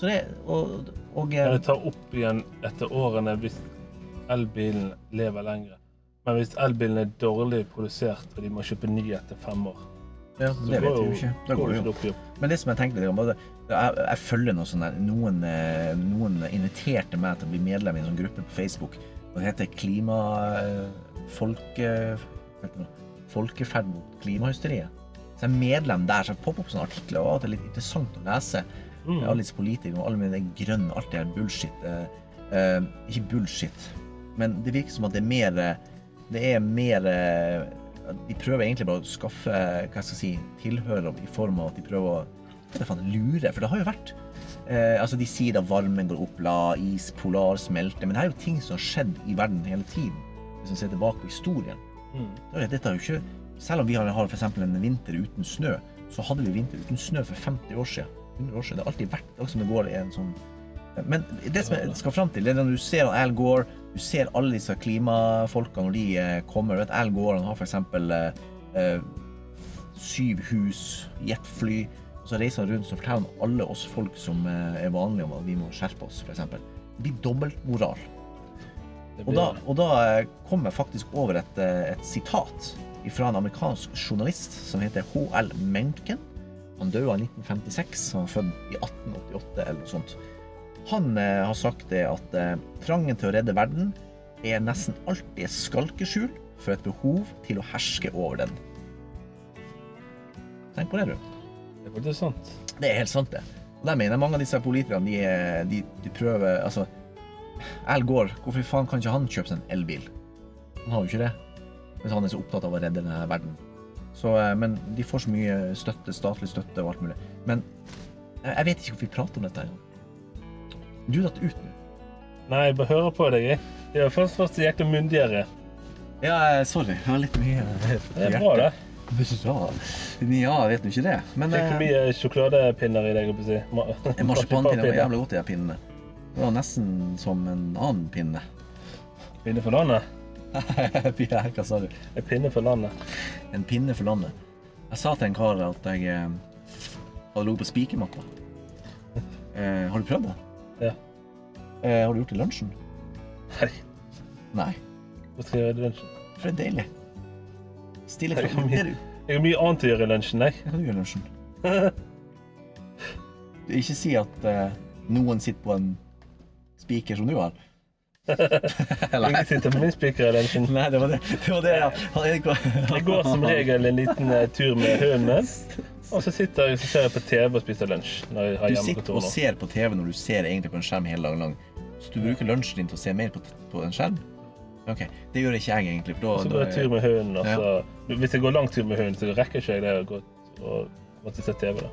Speaker 1: Så det Og, og eh,
Speaker 2: Men det tar opp igjen etter årene hvis elbilen lever lenger. Men hvis elbilen er dårlig produsert, og de må kjøpe ny etter fem år,
Speaker 1: ja,
Speaker 2: så
Speaker 1: det vet vi jo ikke. Da går
Speaker 2: går
Speaker 1: det
Speaker 2: ikke
Speaker 1: jo.
Speaker 2: det opp i opp.
Speaker 1: Men det som jeg tenkte litt om, var det- jeg, jeg følger noe sånn der noen, eh, noen inviterte meg til å bli medlem i en sånn gruppe på Facebook. Og det heter Klima... eh, Folke... hva heter det nå? Folkeferd mot klimahysteriet. Så jeg er medlem der, så jeg popper opp sånne artikler, og at det er litt interessant å lese.
Speaker 2: Mm.
Speaker 1: Alle disse politikerne og alle med det grønne, alt det her bullshit. eh, eh, ikke bullshit, men det virker som at det er mer eh, Det er mer eh, at De prøver egentlig bare å skaffe eh, hva skal jeg si, tilhører i form av at de prøver å hva faen, lure. For det har jo vært Eh, altså De sier at varmen går opp, la is, polar smelter, men det er jo ting som har skjedd i verden hele tiden. Hvis man ser tilbake på historien.
Speaker 2: Mm.
Speaker 1: Det er jo- Dette er jo ikke, selv om vi har har for eksempel en vinter uten snø, så hadde vi vinter uten snø for 50 år siden. 100 år siden. Det har alltid vært det, akkurat som det går i en sånn Men det som jeg skal fram til, det er når du ser Al Gore, du ser alle disse klimafolka når de eh, kommer. Du vet, Al Gore han har for eksempel eh, eh, syv hus, jetfly. Og så reiser han rundt og forteller om alle oss folk som eh, er vanlige, om at vi må skjerpe oss, f.eks. Det blir dobbeltmoral.
Speaker 2: Det
Speaker 1: Og da, og da eh, kom jeg faktisk over et, eh, et sitat fra en amerikansk journalist som heter H.L. Mencken. Han døde i 1956, han var født i 1888 eller noe sånt. Han eh, har sagt det at eh, trangen til å redde verden er nesten alltid et skalkeskjul for et behov til å herske over den. Tenk på det, du.
Speaker 2: Det er faktisk sant.
Speaker 1: Det er helt sant, det. Og der mener jeg mange av disse politikerne, de, er- de, de prøver Altså, Al Gore, hvorfor faen kan ikke han kjøpe seg en elbil? Han har jo ikke det. Mens han er så opptatt av å redde denne verden. Så, eh, men de får så mye støtte, statlig støtte og alt mulig. Men eh, jeg jeg vet ikke hvorfor vi prater om dette. her. Du datt ut nå.
Speaker 2: Nei, jeg bare hører på deg, jeg. Det er først først jækla myndigere.
Speaker 1: Ja, eh, sorry. Det var litt mye
Speaker 2: Det er bra,
Speaker 1: Bra.
Speaker 2: det.
Speaker 1: Ja, jeg vet jo ikke det. Men
Speaker 2: Tenk hvor
Speaker 1: eh,
Speaker 2: mye sjokoladepinner i deg, holdt jeg på å si. Ma-
Speaker 1: marsipanpinner var jævlig godt, de her pinnene. Det var nesten som en annen pinne.
Speaker 2: Pinne for landet.
Speaker 1: Pia, hva sa du?
Speaker 2: En pinne for landet.
Speaker 1: En pinne for landet. Jeg sa til en kar at jeg eh, hadde ligget på spikermatta. Eh, har du prøvd det?
Speaker 2: Ja.
Speaker 1: Eh, har du gjort det i lunsjen?
Speaker 2: Nei,
Speaker 1: Nei.
Speaker 2: hva skal jeg gjøre i lunsjen?
Speaker 1: For det er deilig. Stille
Speaker 2: Det er
Speaker 1: kroppen.
Speaker 2: mye.
Speaker 1: Det er du.
Speaker 2: Jeg har mye annet å gjøre i lunsjen, jeg.
Speaker 1: Hva du gjør i lunsjen? Ikke si at eh, noen sitter på en spiker som du har. Nei.
Speaker 2: Jeg sitter på min spiker i lunsjen.
Speaker 1: Nei, det var det. Det var det, ja. Han Erik var
Speaker 2: Jeg går som regel en liten eh, tur med hunden min. Og så sitter jeg så ser jeg på TV og spiser lunsj når jeg har
Speaker 1: Du sitter og
Speaker 2: hjemmekontor. nå.
Speaker 1: ser på TV når du ser egentlig på en skjerm hele dagen lang. Så du bruker lunsjen din til å se mer på, på en skjerm? Ok, Det gjør ikke jeg, egentlig. For
Speaker 2: Så
Speaker 1: da,
Speaker 2: går jeg tur
Speaker 1: da,
Speaker 2: med hunden, og
Speaker 1: Ja.
Speaker 2: så Hvis jeg går lang tur med hunden, så rekker ikke jeg det å gå og måtte se TV, da.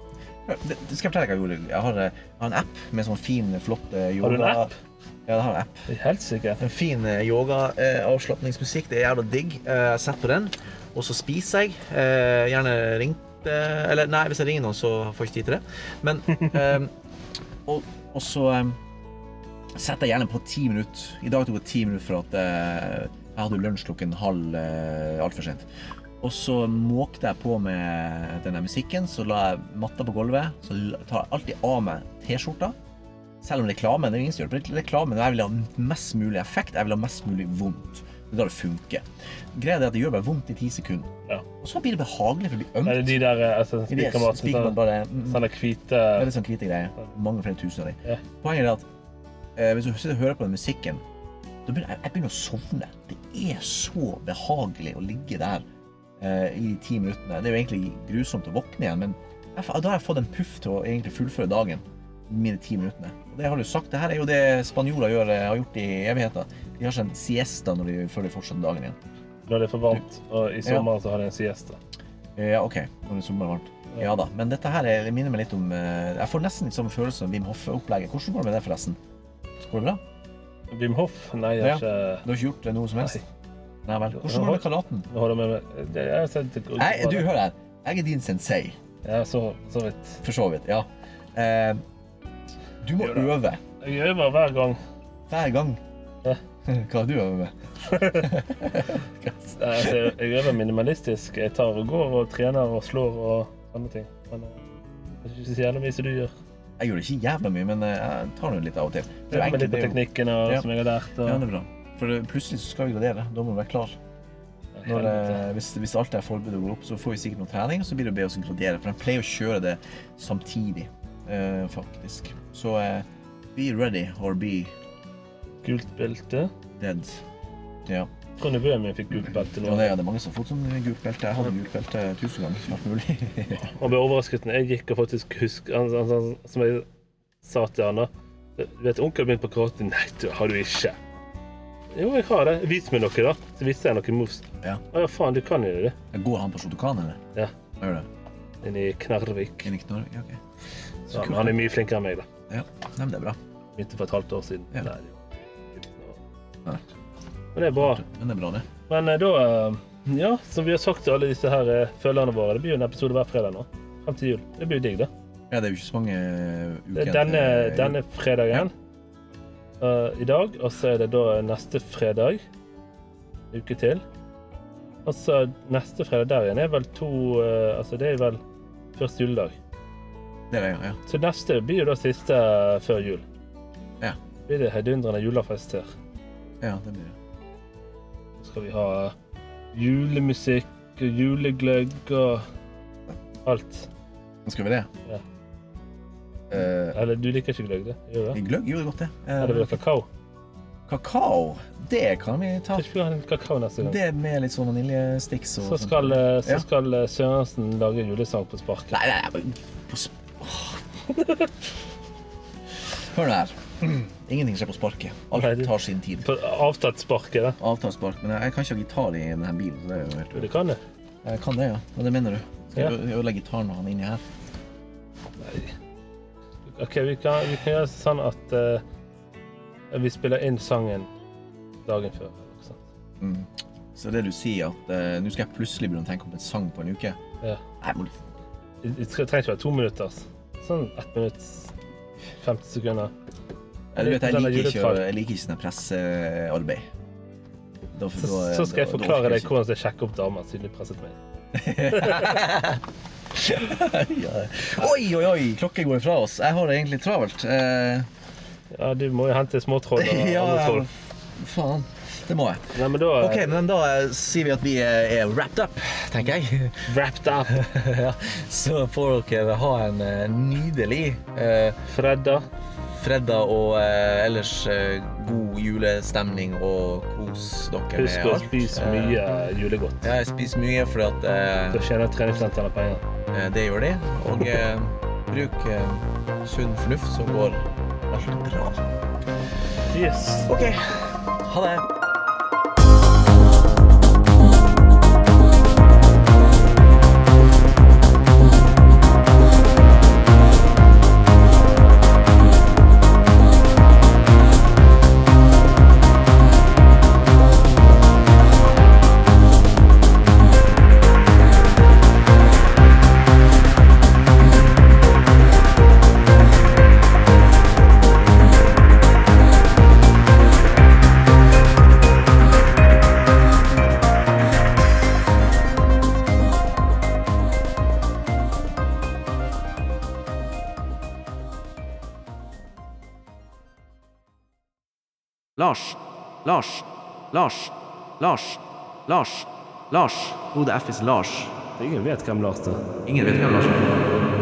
Speaker 1: det, det skal jeg fortelle deg hva jeg gjorde. Jeg har, eh, jeg har en app med sånn fin, flott eh,
Speaker 2: Har
Speaker 1: yoga...
Speaker 2: du en app?
Speaker 1: Ja, jeg har en app.
Speaker 2: Det er helt sikkert.
Speaker 1: En fin eh, yoga-avslapningsmusikk. Det er jævla digg. Eh, Jeg setter på den, og så spiser jeg. Eh, Gjerne ringt eh, Eller nei, hvis jeg ringer noen, så får jeg ikke tid til det. Men eh, Og, og så eh, setter jeg gjerne på ti minutter. I dag tok det ti minutter for at eh, jeg hadde lunsj klokken halv uh, altfor sent. Og så måkte jeg på med denne musikken, så la jeg matta på gulvet. Så la- tar jeg alltid av meg T-skjorta. Selv om reklame, det er jo ingen som gjør det. på Reklame, men jeg vil ha mest mulig effekt, jeg vil ha mest mulig vondt. Det er da det funker. Greia er at det gjør meg vondt i ti sekunder.
Speaker 2: Ja.
Speaker 1: Og så blir det behagelig, for det blir
Speaker 2: Er
Speaker 1: ømt.
Speaker 2: det de der eh, altså,
Speaker 1: I det
Speaker 2: spikermaten?
Speaker 1: spiker man
Speaker 2: Sånn,
Speaker 1: bare mm,
Speaker 2: sånne hvite
Speaker 1: det er litt sånn hvite greier. Mange flere tusen av dem.
Speaker 2: Ja.
Speaker 1: Poenget er at eh, hvis du sitter og hører på den musikken, da begynner jeg, jeg begynner å sovne. Det er så behagelig å ligge der eh, i ti minuttene. Det er jo egentlig grusomt å våkne igjen, men jeg, fa- da har jeg fått en puff til å egentlig fullføre dagen. Mine ti minuttene. Og det har du sagt, det her er jo det spanjoler gjør, eh, har gjort i evigheter. De har seg en siesta når de, før de fortsetter dagen igjen.
Speaker 2: når det er for varmt. Og i sommer så har de en siesta.
Speaker 1: Eh, Ja, OK. Når det er sommer og varmt. Ja da. Men dette her er- minner meg litt om eh, Jeg får nesten litt samme følelse som Wim Hoff-opplegget. Hvordan går det med det, forresten? Går det bra?
Speaker 2: Wim Hoff? Nei, jeg har ikke
Speaker 1: Du har ikke gjort det noe som helst?
Speaker 2: Nei,
Speaker 1: Nei vel. Hvordan går det med karaten?
Speaker 2: nå holder jeg med meg Det- jeg har sett det gå-
Speaker 1: Nei, du, hør her. Jeg er din sensei,
Speaker 2: Ja, så, så vidt.
Speaker 1: for så vidt. Ja. Eh, du må
Speaker 2: Gjør det.
Speaker 1: øve
Speaker 2: Jeg øver hver gang.
Speaker 1: hver gang.
Speaker 2: Ja.
Speaker 1: Hva har du øver med?
Speaker 2: Nei, Altså, jeg- jeg øver minimalistisk. Jeg tar og går og trener og slår og sånne ting. Men eh, det er ikke så jævlig mye som du gjør.
Speaker 1: Jeg gjør det ikke jævla mye, men eh, jeg tar nå litt av og til.
Speaker 2: Jeg øver meg
Speaker 1: egentlig-
Speaker 2: litt på
Speaker 1: det er jo-
Speaker 2: teknikken og,
Speaker 1: Ja.
Speaker 2: som jeg har lært. Og,
Speaker 1: Ja, det er bra. For eh, plutselig så skal vi gradere. Da må du være klar. Når, eh, hvis, hvis alt er forberedt og går opp, så får vi sikkert noe trening, og så blir det å be oss gradere. For de pleier å kjøre det samtidig, eh, faktisk. Så eh, be ready or be
Speaker 2: Gult belte.
Speaker 1: dead. Ja.
Speaker 2: Jeg tror nevøen min fikk gult belte nå.
Speaker 1: Og det er det mange som har fått sånn gult belte. Jeg hadde gult belte tusen ganger, som alt mulig.
Speaker 2: Han ble overrasket når jeg gikk og faktisk husker han, han, han, Som jeg sa til han da. Du vet onkelen min på karate? Nei, du, har du ikke. Jo, jeg har det. Vis meg noe, da. Så viste jeg noen moves.
Speaker 1: Ja.
Speaker 2: Å ja, faen, du kan jo det.
Speaker 1: Går han på Shotokan, eller?
Speaker 2: Ja.
Speaker 1: Gjør det?
Speaker 2: Inni Knarvik.
Speaker 1: Inn i Knorr? Ja, ok.
Speaker 2: Ja, men han er mye flinkere enn meg, da.
Speaker 1: Ja, Nei, men det er bra.
Speaker 2: Begynte for et halvt år siden.
Speaker 1: Ja.
Speaker 2: Nei, det var
Speaker 1: Nei.
Speaker 2: Men det er bra.
Speaker 1: Men det er bra, det.
Speaker 2: Men eh, da eh, Ja, som vi har sagt til alle disse her eh, følgerne våre, det blir jo en episode hver fredag nå. Frem til jul. Det blir jo digg, da.
Speaker 1: Ja, det er jo ikke så mange eh,
Speaker 2: Det
Speaker 1: uker
Speaker 2: er
Speaker 1: til-
Speaker 2: denne, denne fredagen eh, i dag, og så er det da eh, neste fredag. En uke til. Og så neste fredag der igjen er vel to eh, Altså, det er vel første juledag.
Speaker 1: Det er det, ja.
Speaker 2: Så neste blir jo da siste eh, før jul.
Speaker 1: Ja.
Speaker 2: Blir det heidundrende julefest her.
Speaker 1: ja det blir det.
Speaker 2: Så skal vi ha julemusikk og julegløgg og alt.
Speaker 1: Nå skal vi det.
Speaker 2: Ja.
Speaker 1: Eh,
Speaker 2: Eller du liker ikke gløgg, det? Gjør du det?
Speaker 1: gløgg gjorde godt, det. Eh,
Speaker 2: Eller vil du ha kakao?
Speaker 1: kakao, det kan vi ta.
Speaker 2: Kan ikke vi ha en kakao neste gang?
Speaker 1: Det med litt sånn vaniljesticks og
Speaker 2: Så
Speaker 1: sånt.
Speaker 2: skal, eh, så
Speaker 1: Ja.
Speaker 2: skal eh, Sørensen lage en julesang på sparket.
Speaker 1: Nei, nei, nei. men på sp- Åh. Hør nå her. Ingenting skjer på sparket.
Speaker 2: Nei,
Speaker 1: Alt
Speaker 2: det-
Speaker 1: tar sin tid.
Speaker 2: På avtatt sparket, da.
Speaker 1: Avtalt spark, men jeg, jeg kan ikke ha gitar i denne bilen. Så det er jo helt...
Speaker 2: Jo, det kan det.
Speaker 1: Jeg kan det, ja. Men det mener du. Skal
Speaker 2: Ja.
Speaker 1: jeg ø- ødelegge gitaren med han inni her?
Speaker 2: OK, vi kan, vi kan gjøre sånn at eh, vi spiller inn sangen dagen før. eller noe sånt.
Speaker 1: Mm. Så det du sier at eh, nå skal jeg plutselig begynne å tenke på en sang på en uke?
Speaker 2: Ja.
Speaker 1: Nei, må du...
Speaker 2: Det det skal- trenger ikke være to minutter. ass. Sånn ett minutt, 50 sekunder.
Speaker 1: Ja, du vet, jeg
Speaker 2: Den er
Speaker 1: liker ikke,
Speaker 2: juletall.
Speaker 1: jeg liker ikke sånn her pressearbeid. Da-
Speaker 2: Så,
Speaker 1: da-
Speaker 2: så skal jeg
Speaker 1: da- da
Speaker 2: forklare
Speaker 1: orker
Speaker 2: deg
Speaker 1: jeg
Speaker 2: hvordan jeg sjekker opp damer, siden du presset meg.
Speaker 1: ikke. ja. Oi, oi, oi! Klokken går ifra oss. Jeg har det egentlig travelt. Eh,
Speaker 2: Ja, du må jo hente småtroll og
Speaker 1: ja,
Speaker 2: andre troll.
Speaker 1: faen. Det må jeg.
Speaker 2: Nei, men da eh,
Speaker 1: OK, men da eh, sier vi at vi eh, er wrapped up, tenker jeg.
Speaker 2: Wrapped up.
Speaker 1: ja. Så får dere ha en eh, nydelig eh,
Speaker 2: Fredda.
Speaker 1: fredag og eh, ellers eh, god julestemning og kos dere
Speaker 2: Husk å spise
Speaker 1: Eh,
Speaker 2: mye julegodt.
Speaker 1: Ja, jeg spiser mye fordi at eh,
Speaker 2: Da tjener treningssentrene penger.
Speaker 1: eh, det gjør de. Og eh, bruk eh, sunn fornuft, så går alt bra.
Speaker 2: Yes.
Speaker 1: OK. Ha det.
Speaker 3: Lars. Lars. Lars. Lars. Lars. Lars. Hodet F is Lars.
Speaker 2: Ingen vet hvem Lars er.
Speaker 3: Ingen vet hvem Lars er.